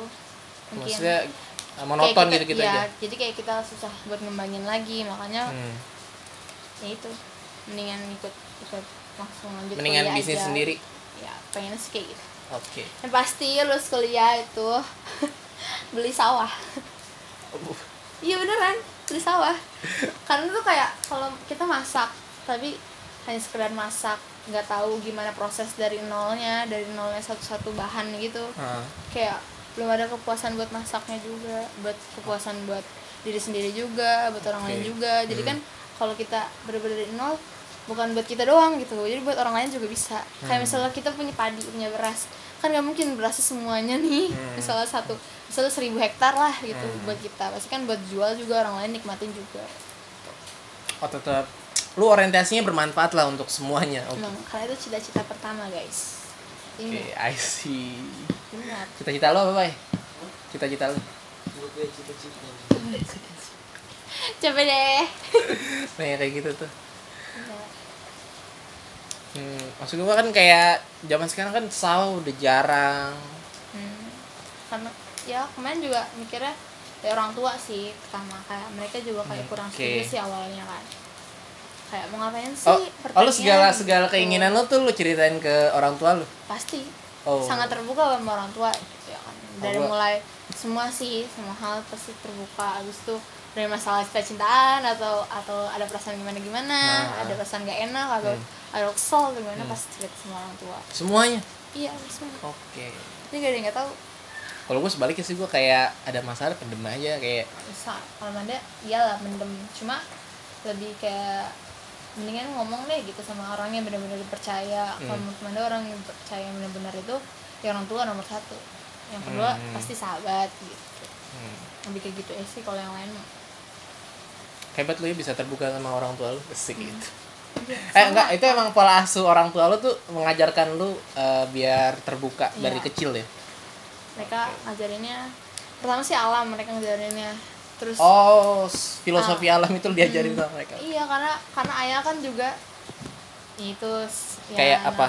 B: Mungkin.
A: Maksudnya eh,
B: Kayak
A: monoton
B: kita-
A: gitu-gitu
B: iya,
A: aja.
B: jadi kayak kita susah buat ngembangin lagi makanya
A: Hmm.
B: ya itu mendingan ikut ikut langsung lanjut
A: Mendingan
B: kuliah
A: bisnis
B: aja.
A: sendiri.
B: ya pengennya sih kayak gitu
A: Oke.
B: yang pasti lulus kuliah itu [laughs] beli sawah
A: Uh,
B: iya beneran beli
A: [laughs]
B: sawah karena tuh kayak kalau kita masak tapi hanya sekedar masak nggak tahu gimana proses dari nolnya dari nolnya satu-satu bahan gitu
A: ah.
B: kayak belum ada kepuasan buat masaknya juga buat kepuasan buat diri sendiri juga buat orang
A: Oke.
B: lain
A: Hmm.
B: juga jadi kan kalau kita bener-bener dari nol bukan buat kita doang gitu jadi buat orang lain juga bisa
A: Hmm.
B: kayak misalnya kita punya padi punya beras kan nggak mungkin berasnya semuanya nih
A: Hmm.
B: [laughs] misalnya satu misalnya seribu hektar lah gitu buat kita pasti kan buat jual juga orang lain nikmatin juga
A: Oh tetap lu orientasinya bermanfaat lah untuk semuanya. Oke.
B: Nah, karena itu cita-cita pertama guys
A: Oke, iya. I
B: ingat
A: see.
B: ingat
A: Cita-cita lu apa, Bay? Cita-cita lu.
C: Gue punya cita-cita.
B: coba deh
A: Nah, yang kayak gitu tuh.
B: Ingat.
A: Hmm, maksud gua kan kayak zaman sekarang kan sawah udah jarang.
B: Hmm. karena ya kemarin juga mikirnya ya orang tua sih pertama kayak mereka juga kayak
A: Hmm,
B: kurang
A: oke.
B: setuju sih awalnya kan kayak mau ngapain sih
A: Oh, oh, lu
B: pertanian?
A: segala segala
B: Gitu.
A: keinginan lu tuh lu ceritain ke orang tua lu.
B: pasti
A: Oh.
B: sangat terbuka sama orang tua gitu ya kan dari
A: gua-
B: mulai semua sih semua hal pasti terbuka habis itu dari masalah cintaan atau atau ada perasaan gimana gimana
A: Ah. Hmm.
B: ada perasaan gak enak atau ada kesel atau gimana pasti cerita sama orang tua
A: Semuanya.
B: iya semua
A: Oke.
B: ini gak ada yang gak tahu
A: Kalau gue sebaliknya sih gue kayak ada masalah pendem aja kayak
B: bisa kalau Manda iyalah mendem cuma lebih kayak mendingan ngomong deh gitu sama orang yang benar-benar dipercaya
A: Hmm.
B: kalau menurut Manda orang yang percaya benar-benar itu ya orang tua nomor satu yang kedua
A: Hmm.
B: pasti sahabat gitu
A: hmm,
B: lebih kayak gitu aja sih kalau yang lain mah.
A: hebat lu ya bisa terbuka sama orang tua lu. Asik gitu.
B: Iya,
A: Eh
B: sama.
A: enggak, itu emang pola asuh orang tua lu tuh mengajarkan lu eh, biar terbuka
B: Iya.
A: dari kecil ya.
B: mereka ngajarinnya pertama sih alam mereka ngajarinnya terus
A: Oh, s- filosofi
B: Ah.
A: alam itu diajarin sama mereka.
B: iya karena karena ayah kan juga itu s- ya,
A: Kayak
B: anak-
A: apa?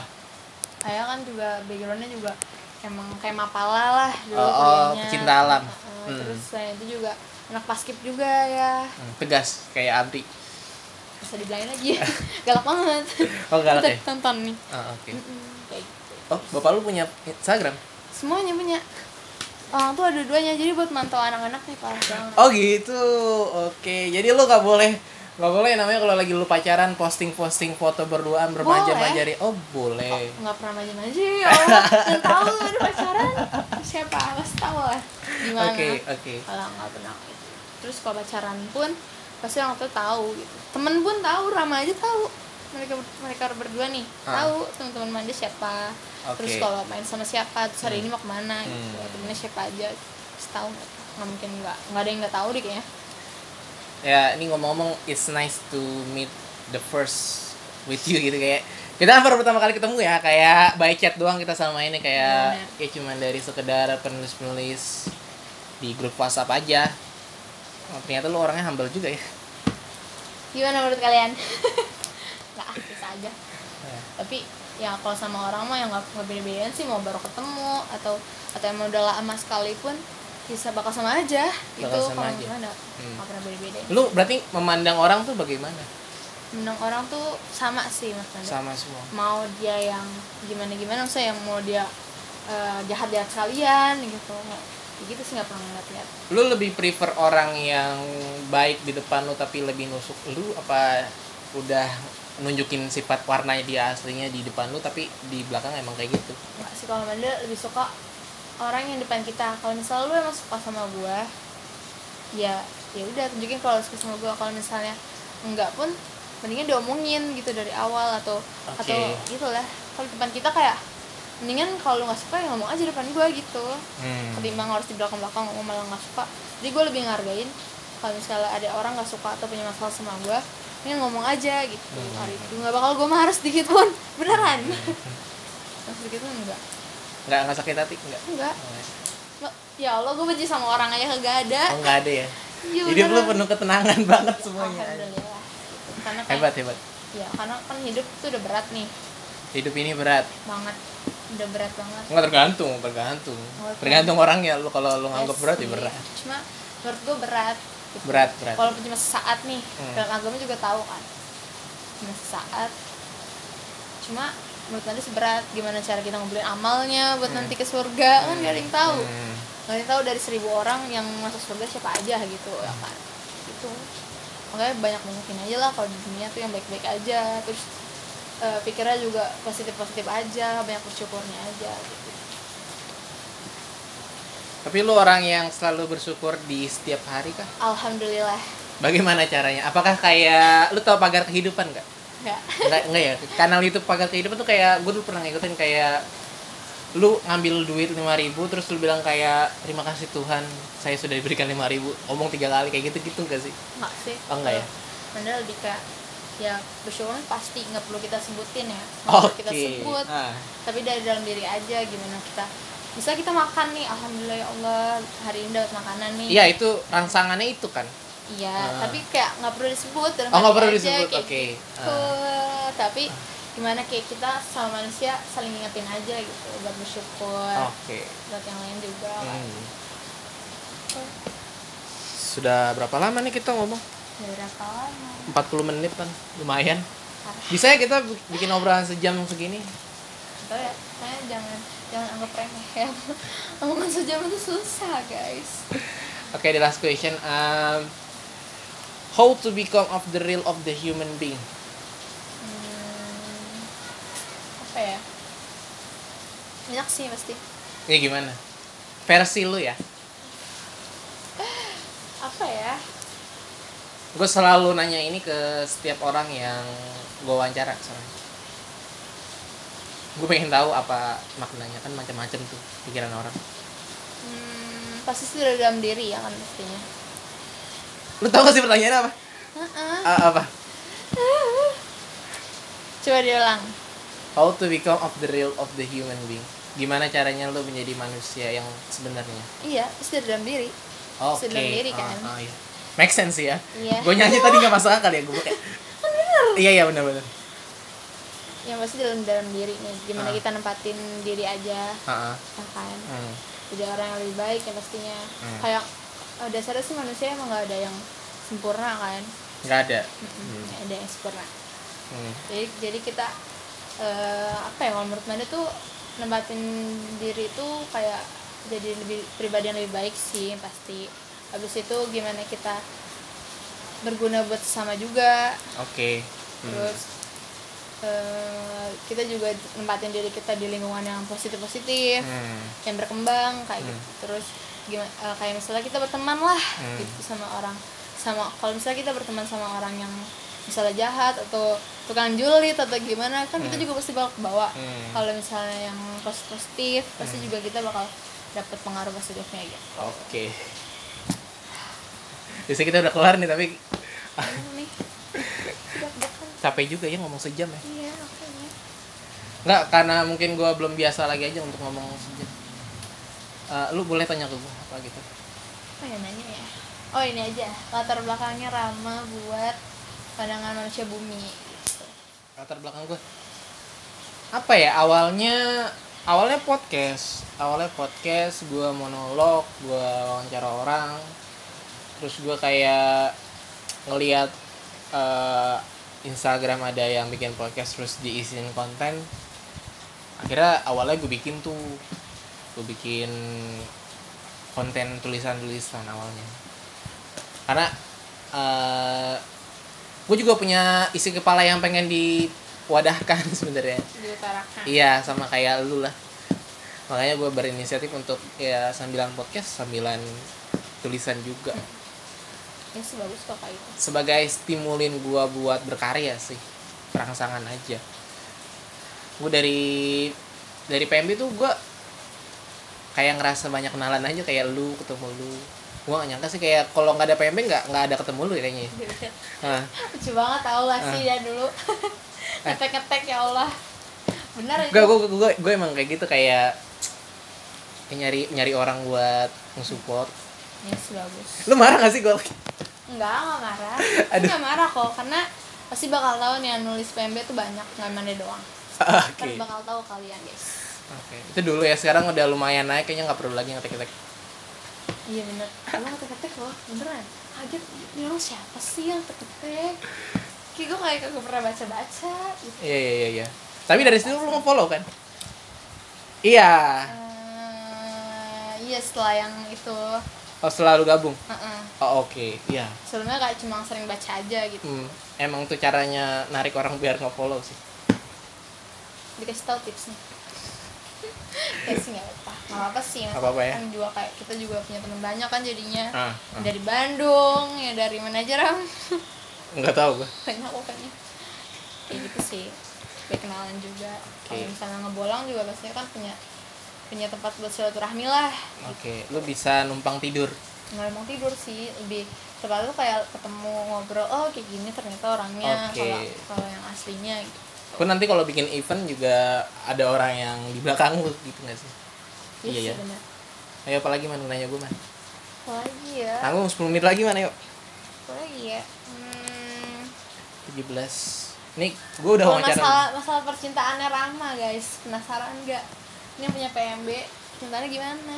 B: ayah kan juga backgroundnya juga emang kayak mapala lah
A: Oh,
B: dulu
A: oh,
B: kuliahnya.
A: pecinta alam.
B: Heeh,
A: Hmm.
B: terus saya itu juga anak paskib juga ya
A: Hmm, Tegas kayak Abdi.
B: bisa dibilangin lagi [laughs] galak banget
A: Oh, galak ya?
B: Tet- [laughs] tonton nih
A: Ah, oke.
B: Mm, kayak gitu.
A: Oh, bapak lu punya Instagram?
B: semuanya punya orang tuh ada duanya jadi buat mantau anak-anak nih parah banget
A: Oh, gitu. Oke. Jadi lu nggak boleh nggak boleh namanya kalau lagi lu pacaran posting-posting foto berduaan bermanja-manjari. Oh, boleh.
B: nggak pernah maju maju ya
A: [laughs]
B: Allah nggak tahu aduh pacaran siapa awas tahu lah gimana
A: Oke, oke.
B: kalau nggak pernah gitu. terus kalau pacaran pun pasti orang tua tahu gitu temen pun tahu Rama aja tahu mereka mereka berdua nih
A: Ah.
B: tahu teman-teman mandi siapa terus
A: Oke.
B: kalau main sama siapa terus hari ini mau kemana gitu
A: Hmm.
B: temennya siapa aja terus tahu nggak nggak mungkin nggak nggak ada yang nggak tahu deh kayaknya
A: ya ini ngomong-ngomong it's nice to meet the first with you gitu kayak kita kan baru pertama kali ketemu ya kayak by chat doang kita sama ini kayak ya
B: Iya,
A: cuman dari sekedar penulis-penulis di grup WhatsApp aja oh, ternyata lu orangnya humble juga ya
B: gimana menurut kalian [laughs] nggak ah, bisa aja tapi ya kalau sama orang mah yang nggak nggak beda-bedaan sih mau baru ketemu atau atau emang udah lama sekali pun bisa bakal sama aja gitu
A: Bakal sama
B: kalau
A: aja.
B: gimana nggak
A: Hmm.
B: nggak pernah beda-beda
A: lu berarti memandang orang tuh bagaimana
B: menang orang tuh sama sih mas Nanda.
A: sama semua
B: mau dia yang gimana gimana saya yang mau dia eh, jahat jahat kalian gitu Nggak- ya gitu sih nggak pernah ngeliat lihat
A: lu lebih prefer orang yang baik di depan lu tapi lebih nusuk lu apa udah nunjukin sifat warnanya dia aslinya di depan lu tapi di belakang emang kayak gitu
B: nggak sih kalau Amanda lebih suka orang yang depan kita kalau misalnya lu emang suka sama gua ya ya udah tunjukin kalau lu suka sama gua kalau misalnya enggak pun mendingan diomongin gitu dari awal atau
A: Oke.
B: atau gitulah kalau depan kita kayak mendingan kalau lu nggak suka ya ngomong aja depan gua gitu
A: Hmm.
B: ketimbang harus di belakang belakang ngomong malah nggak suka jadi gue lebih ngargain kalau misalnya ada orang nggak suka atau punya masalah sama gue ini ngomong aja gitu hari itu nggak bakal gue marah sedikit pun beneran
A: Iya.
B: [laughs] Marah sedikit pun enggak
A: nggak nggak sakit hati nggak
B: enggak Nggak. ya Allah gue benci sama orang aja kagak ada
A: oh nggak ada ya
B: Iya,
A: hidup lu
B: beneran.
A: penuh ketenangan [laughs] banget semuanya
B: alhamdulillah gitu. karena kan
A: hebat hebat
B: ya karena kan hidup tuh udah berat nih
A: hidup ini berat
B: banget udah berat banget
A: nggak tergantung tergantung
B: Oke.
A: tergantung orangnya lu kalau lu nganggap
B: Yes,
A: berat ya
B: iya.
A: berat
B: cuma menurut gue berat gitu.
A: berat berat
B: walaupun cuma sesaat nih
A: Hmm.
B: dalam agama juga tahu kan cuma sesaat cuma menurut nanti seberat gimana cara kita ngobrolin amalnya buat nanti ke surga kan gak ada yang tahu
A: Hmm.
B: gak ada yang tahu dari seribu orang yang masuk surga siapa aja gitu ya
A: Hmm.
B: kan gitu makanya banyak mungkin aja lah kalau di dunia tuh yang baik-baik aja terus eh, pikirnya juga positif-positif aja banyak bersyukurnya aja gitu
A: tapi lu orang yang selalu bersyukur di setiap hari kah
B: alhamdulillah
A: bagaimana caranya apakah kayak lu tau pagar kehidupan nggak
B: ya
A: nggak nggak ya kanal YouTube pagar kehidupan tuh kayak gue dulu pernah ngikutin kayak lu ngambil duit lima ribu terus lu bilang kayak terima kasih Tuhan saya sudah diberikan lima ribu omong tiga kali kayak gitu gitu nggak sih
B: Enggak sih.
A: Oh, enggak ya?
B: Padahal lebih kayak ya bersyukur kan pasti nggak perlu kita sebutin ya. Nggak perlu
A: Oke.
B: kita sebut.
A: Ah.
B: Tapi dari dalam diri aja gimana kita bisa kita makan nih alhamdulillah ya Allah hari ini dapat makanan nih.
A: Iya itu rangsangannya itu kan.
B: Iya,
A: Ah.
B: tapi kayak nggak perlu disebut dalam
A: Oh, nggak
B: hati
A: perlu
B: aja,
A: disebut, oke.
B: kayak
A: Ah.
B: gitu. Tapi gimana kayak kita sama manusia saling ingetin aja gitu buat bersyukur
A: Ah. Oke.
B: buat yang lain juga
A: Oh. Hmm. Sudah berapa lama nih kita ngomong?
B: Udah berapa lama
A: 40 menit kan lumayan. Bisa ya kita bi- bikin obrolan sejam segini?
B: Atau ya, kalian jangan jangan anggap remeh ya. [laughs] Omongan sejam itu susah, guys.
A: Oke, the last question. Um, how to become of the real of the human being?
B: Hmm, apa ya? Banyak sih pasti.
A: Ya gimana? Versi lu ya.
B: Apa ya?
A: Gue selalu nanya ini ke setiap orang yang gue wawancara soalnya. Gue pengen tahu apa maknanya kan macam-macam tuh pikiran orang.
B: Hmm, pasti sih dari dalam diri ya kan pastinya.
A: Lu tau gak sih pertanyaannya apa?
B: Heeh.
A: Ah, apa?
B: [laughs] Coba diulang.
A: How to become of the real of the human being? Gimana caranya lu menjadi manusia yang sebenarnya?
B: Iya, pasti dari dalam diri.
A: Oke.
B: Sedang diri
A: Ah,
B: kan.
A: ah, iya. Make sense sih ya.
B: Iya.
A: Gue nyanyi tadi gak masuk akal ya gue kayak. Iya iya benar benar.
B: yang pasti dalam dalam diri nih gimana
A: Ah.
B: kita nempatin diri aja
A: Heeh.
B: ya kan jadi orang yang lebih baik ya pastinya
A: Hmm.
B: kayak eh, dasarnya sih manusia emang gak ada yang sempurna kan
A: Gak ada.
B: Mm-mm, nggak ada yang sempurna
A: Hmm.
B: jadi jadi kita eh, apa ya kalau menurut Manda tuh nempatin diri itu kayak jadi lebih pribadi yang lebih baik sih pasti habis itu gimana kita berguna buat sesama juga
A: Oke. Hmm.
B: terus eh, kita juga nempatin diri kita di lingkungan yang positif positif
A: Hmm.
B: yang berkembang kayak gitu terus gimana eh, kayak misalnya kita berteman lah
A: Hmm.
B: gitu sama orang sama kalau misalnya kita berteman sama orang yang misalnya jahat atau tukang julid atau gimana kan kita juga pasti bakal bawa
A: Hmm.
B: kalau misalnya yang positif positif pasti juga kita bakal dapat pengaruh positifnya
A: [laughs]
B: gitu
A: Oke. Biasanya kita udah kelar nih tapi
B: nih deg-degan
A: capek juga ya ngomong sejam ya.
B: iya makanya
A: Enggak, karena mungkin gua belum biasa lagi aja untuk ngomong sejam. Eh, lu boleh tanya ke gue apa gitu.
B: apa ya nanya ya oh ini aja latar belakangnya Rama buat pandangan manusia bumi gitu.
A: latar belakang gue apa ya awalnya awalnya podcast awalnya podcast gue monolog gue wawancara orang terus gue kayak ngelihat eh, Instagram ada yang bikin podcast terus diisiin konten akhirnya awalnya gue bikin tuh gue bikin konten tulisan-tulisan awalnya karena eh gue juga punya isi kepala yang pengen diwadahkan [laughs] sebenarnya
B: diutarakan
A: iya sama kayak lu lah makanya gue berinisiatif untuk ya sambilan podcast sambilan tulisan juga
B: ya sih bagus kok kayak itu
A: sebagai stimulin gue buat berkarya sih rangsangan aja gue dari dari PMB tuh gue kayak ngerasa banyak kenalan aja kayak lu ketemu lu gue gak nyangka sih kayak kalau nggak ada PMB nggak nggak ada ketemu lu ya kayaknya Nah, Hah.
B: [laughs] lucu banget tau lah sih ya dulu [laughs] ngetek ngetek ya Allah ya? benar itu
A: Gak, gue, gue, gue, gue emang kayak gitu kayak kayak nyari nyari orang buat nge-support.
B: ya sih bagus
A: Lu marah gak sih gue?
B: enggak enggak [laughs] marah Aku enggak marah kok karena pasti bakal tahu nih yang nulis PMB tuh banyak nggak mandi doang
A: Oke.
B: Ntar bakal tahu kalian guys
A: Oke. Itu dulu ya sekarang udah lumayan naik kayaknya nggak perlu lagi ngetek-ngetek.
B: iya bener emang ngetek ngetek loh beneran kaget ini orang siapa sih yang ngetek ngetek kayak gue kayak gak pernah baca baca gitu
A: Iya iya iya. iya. Tapi dari situ lu nge-follow kan? Iya.
B: Eh, iya setelah yang itu
A: Oh selalu gabung.
B: Heeh.
A: Oh oke. Iya.
B: sebelumnya kayak cuma sering baca aja gitu
A: Hmm. Emang tuh caranya narik orang biar nge-follow sih.
B: dikasih tahu
A: [laughs]
B: tipsnya ya sih nggak apa nggak apa sih
A: Nggak apa-apa ya.
B: kan juga kayak kita juga punya teman banyak kan jadinya
A: Ah, ah.
B: dari Bandung ya dari mana aja ram [laughs]
A: Nggak tahu gue.
B: banyak pokoknya kayak gitu sih Biar kenalan juga kalau
A: Oke.
B: misalnya ngebolang juga pastinya kan punya punya tempat buat silaturahmi lah
A: Oke. Lu bisa numpang tidur.
B: nggak emang tidur sih lebih tepatnya tuh kayak ketemu ngobrol oh kayak gini ternyata orangnya
A: Oke.
B: kalau kalau yang aslinya gitu.
A: Pun nanti kalau bikin event juga ada orang yang di belakang lu gitu nggak sih? Iya,
B: iya
A: iya.
B: sih benar
A: Ayo apalagi man nanya gue man.
B: apalagi ya
A: Tanggung 10 menit lagi mana yuk?
B: apalagi ya hmm,
A: 17. Nih, gue udah
B: Kalau
A: wawancara.
B: masalah masalah percintaannya Rama guys penasaran nggak ini yang punya PMB percintaannya gimana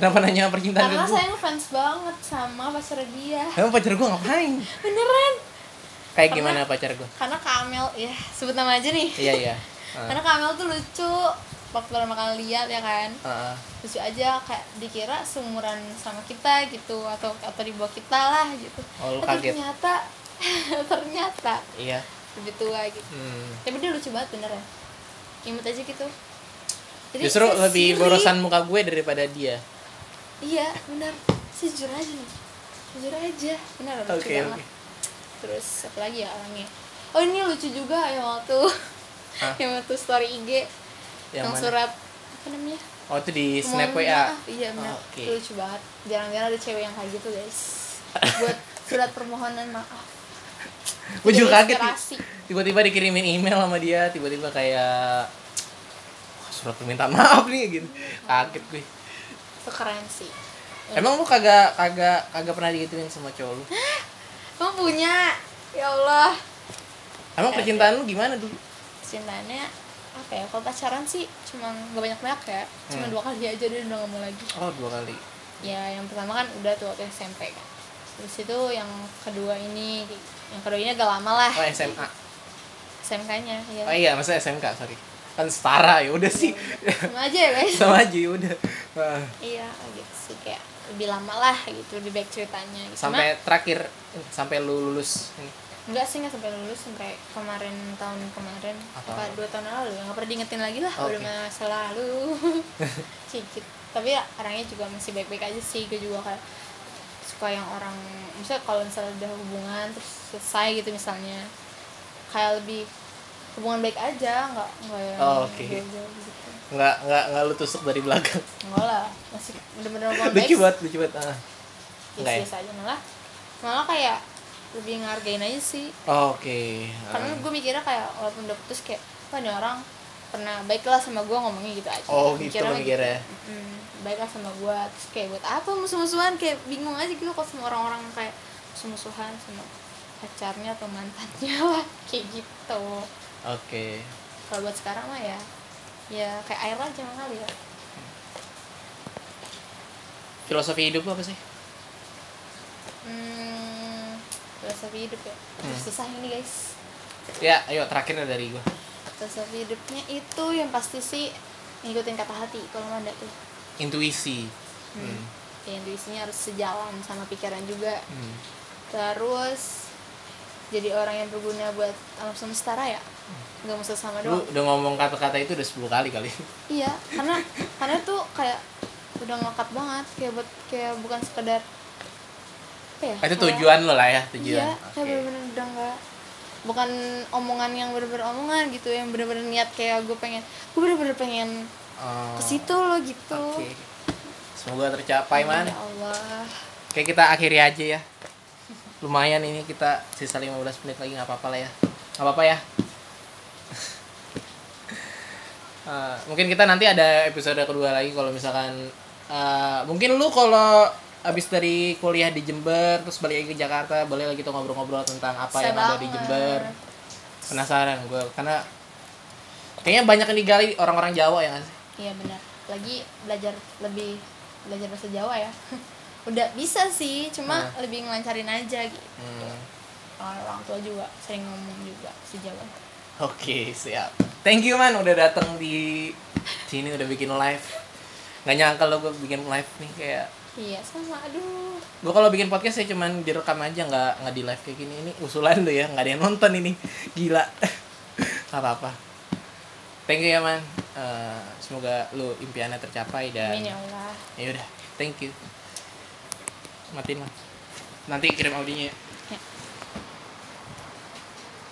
A: Kenapa nanya percintaan
B: karena
A: ke gue?
B: saya ngefans banget sama pacar dia
A: Emang pacar gue ngapain?
B: beneran
A: Kayak gimana pacar gue?
B: karena Kamel ya sebut nama aja nih
A: Iya, iya. Heeh.
B: karena Kamel tuh lucu waktu pertama kali lihat ya kan
A: Heeh.
B: lucu aja kayak dikira seumuran sama kita gitu atau atau di bawah kita lah gitu
A: Oh, lu
B: tapi
A: kaget.
B: ternyata [laughs] ternyata
A: Iya.
B: lebih tua gitu
A: Hmm.
B: tapi dia lucu banget beneran imut aja gitu Jadi
A: Justru
B: si-
A: lebih
B: si-
A: borosan muka gue daripada dia.
B: iya benar sejujur aja nih jujur aja benar lucu
A: Oke,
B: banget
A: oke.
B: terus apa lagi ya orangnya oh ini lucu juga yang waktu
A: Hah?
B: [laughs] yang waktu story IG yang,
A: Yang mana?
B: surat apa namanya
A: Oh, itu di Snap
B: Kemauan-
A: WA.
B: ah, iya
A: Oh,
B: benar
A: Oke.
B: Itu lucu banget jarang-jarang ada cewek yang kayak gitu
A: [laughs]
B: guys buat surat permohonan maaf
A: Gue
B: Jadi
A: juga kaget.
B: inspirasi.
A: Tiba-tiba dikirimin email sama dia, tiba-tiba kayak "Wah, surat permintaan maaf nih gitu. Kaget gue.
B: itu keren sih
A: Emang lu kagak kagak kagak pernah digituin sama cowok lu?
B: Kamu punya? Ya Allah.
A: Emang percintaan lu gimana dulu?
B: Cintanya apa ya? Kalau pacaran sih cuma gak banyak-banyak ya.
A: Hmm.
B: Cuma dua kali aja dia udah gak mau lagi.
A: Oh, dua kali.
B: Ya yang pertama kan udah tuh waktu SMP kan. Terus itu yang kedua ini, yang kedua ini agak lama lah.
A: Oh, SMA.
B: SMK-nya, ya.
A: Oh iya, maksudnya SMK, sorry. Kan setara ya udah sih.
B: Sama aja ya guys.
A: Sama aja ya udah. Nah,
B: Iya gitu sih kayak lebih lama lah gitu di back ceritanya. Gitu. Cuma-
A: Sampai terakhir sampai lu lulus ini.
B: Enggak sih, nggak sampai lulus sampai kemarin tahun kemarin
A: Apa?
B: apa, dua tahun lalu ya nggak pernah diingetin lagi lah
A: Ah, Oke.
B: udah masa
A: [laughs]
B: lalu sedikit tapi ya, orangnya juga masih baik-baik aja sih gue juga kayak suka yang orang misalnya kalau misalnya udah hubungan terus selesai gitu misalnya kayak lebih hubungan baik aja nggak nggak yang
A: Oh, oke.
B: jauh-jauh gitu
A: Nggak nggak nggak lu tusuk dari belakang.
B: enggak lah masih bener-bener hubungan baik
A: lucu banget, lucu banget. Ah. Enggak ya?
B: biasa aja malah malah kayak lebih ngargain aja sih
A: Oke. Ah.
B: karena gue mikirnya kayak walaupun udah putus kayak wah ini orang pernah baiklah sama gue ngomongnya gitu aja
A: Oh, gitu lo mikirnya.
B: "Mm, baiklah sama gue terus kayak buat apa musuh-musuhan kayak bingung aja gitu kok sama orang-orang yang kayak musuh-musuhan sama pacarnya atau mantannya [laughs] lah kayak gitu
A: Oke.
B: kalau buat sekarang mah ya ya kayak air aja kali ya
A: Filosofi hidup lu apa sih?
B: hmm filosofi hidup ya
A: Hmm.
B: susah ini guys
A: Ya, ayo terakhirnya dari gua.
B: filosofi hidupnya itu yang pasti sih ngikutin kata hati kalau manda tuh
A: Intuisi. Hmm.
B: ya intuisinya harus sejalan sama pikiran juga
A: Hmm.
B: terus jadi orang yang berguna buat alam semesta raya nggak mesti sama
A: Lu
B: doang
A: udah ngomong kata-kata itu udah 10 kali
B: [laughs]
A: kali.
B: iya karena karena tuh kayak udah ngangkat banget kayak buat kayak bukan sekedar apa ya
A: Itu
B: kayak-
A: tujuan lo lah ya, tujuan.
B: iya kayak
A: Oke.
B: bener-bener udah nggak bukan omongan yang bener-bener omongan gitu yang bener-bener niat kayak gue pengen gue bener-bener pengen
A: Oh,
B: ke situ loh gitu
A: oke. Semoga tercapai, Man.
B: ya Allah
A: Oke, kita akhiri aja ya. Lumayan ini kita sisa 15 menit lagi nggak apa-apa lah ya. Nggak apa-apa ya. [laughs] Eh, mungkin kita nanti ada episode kedua lagi kalau misalkan eh, mungkin lu kalau abis dari kuliah di Jember terus balik lagi ke Jakarta boleh lagi kita ngobrol-ngobrol tentang apa
B: Susah
A: yang ada di
B: banget.
A: Jember penasaran gue karena kayaknya banyak yang digali orang-orang Jawa ya nggak sih?
B: Iya benar. Lagi belajar lebih belajar bahasa Jawa ya. [laughs] Udah bisa sih, cuma lebih ngelancarin aja gitu.
A: Hmm.
B: Orang, orang tua juga sering ngomong juga si Jawa.
A: Oke, siap. Thank you man udah datang di sini udah bikin live. Gak nyangka lo gue bikin live nih kayak
B: Iya sama. Aduh.
A: gue kalau bikin podcast ya cuman direkam aja nggak nggak di live kayak gini ini usulan lo ya nggak ada yang nonton ini gila [laughs] nggak apa apa thank you ya man Eh, semoga lo impiannya tercapai dan
B: Amin ya Allah.
A: ya udah thank you matiin man nanti kirim audionya ya.